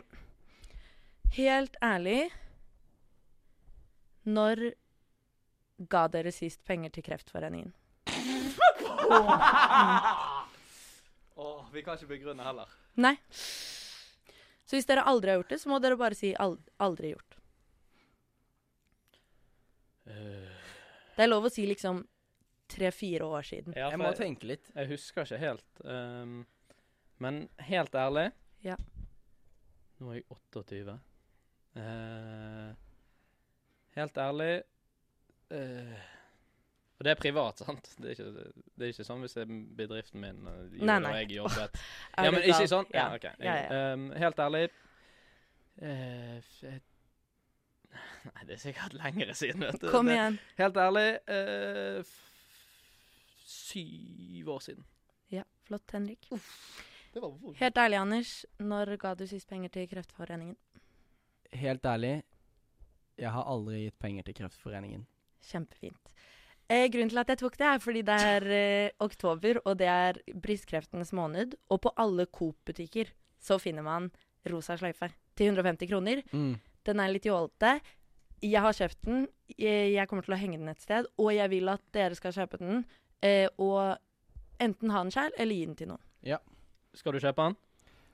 Helt ærlig Når ga dere sist penger til Kreftforeningen?
Åh, vi kan ikke begrunne heller.
Nei. Så hvis dere aldri har gjort det, så må dere bare si al aldri gjort.
Eh,
Det er lov å si liksom tre-fire år siden.
Ja,
Jeg
for
må
jeg,
tenke litt.
jeg husker ikke helt. ehm, men helt ærlig
Ja.
Nå er jeg 28. Eh, helt ærlig eh, For det er privat, sant? Det er ikke, det er ikke sånn hvis det er bedriften min eh, gjorde
Nei,
og
nei.
jeg jobbet. Ja,
Er du
men ikke
gal?
sånn? Ja,
Ja.
ok. Jeg-
Ja, ja.
ehm, helt ærlig eh, *laughs* f- jeg- Nei, det er sikkert lengre siden, vet du.
Kom
Det-
igjen.
Helt ærlig eh, f- Syv år siden.
Ja, flott, Henrik.
Det var vondt.
Helt ærlig, Anders. Når ga du sist penger til Kreftforeningen?
Helt ærlig, jeg har aldri gitt penger til Kreftforeningen.
Kjempefint. Eh, grunnen til at jeg tok det, er fordi det er eh, oktober, og det er brystkreftens måned. Og på alle Coop-butikker så finner man rosa sløyfe til 150 kroner. Den er litt jålete. Jeg har kjøpt den. Jeg jeg kommer til å henge den et sted. Og jeg vil at dere skal kjøpe den. Eh, og enten ha den sjøl, eller gi den til noen.
Skal du kjøpe den?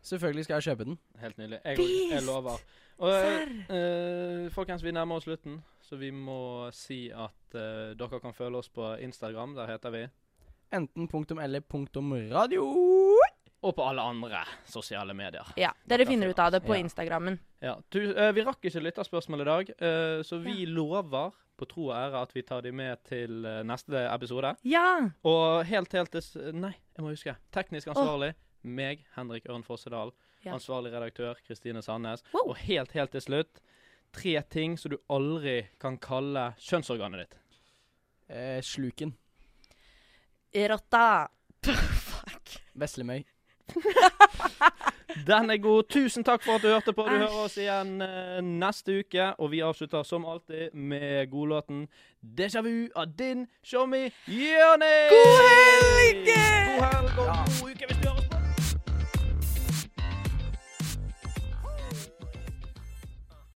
Selvfølgelig skal jeg kjøpe den.
Helt nydelig. Jeg, òg. jeg
Beast!
lover. Og,
Serr!
eh, folkens, vi nærmer oss slutten, så vi må si at eh, dere kan følge oss på Instagram. Der heter vi.
Enten punktum eller punktum radio.
Og på alle andre sosiale medier.
Ja, dere
Dette
finner
finner
ut av det på
Ja.
Instagrammen.
Ja, du, eh, Vi rakk ikke lytterspørsmål i dag, eh, så vi lover på tro og ære at vi tar de med til eh, neste episode.
Ja!
Og helt, helt til s- Nei, jeg må huske. Teknisk ansvarlig, meg, Henrik Ørn Fossedal.
Ja.
Ansvarlig redaktør, Kristine Sandnes.
Wow.
Og helt, helt til slutt, tre ting som du aldri kan kalle kjønnsorganet ditt.
Eh, sluken.
Rotta. *laughs* Fuck.
Veslemøy.
Den er god. Tusen takk for at du hørte på. Du
Æsj.
hører oss igjen eh, neste uke. Og vi avslutter som alltid med godlåten 'Déjà vu' av din Tjommi Jørnis.
God helg!
God helg og god uke hvis du hører på!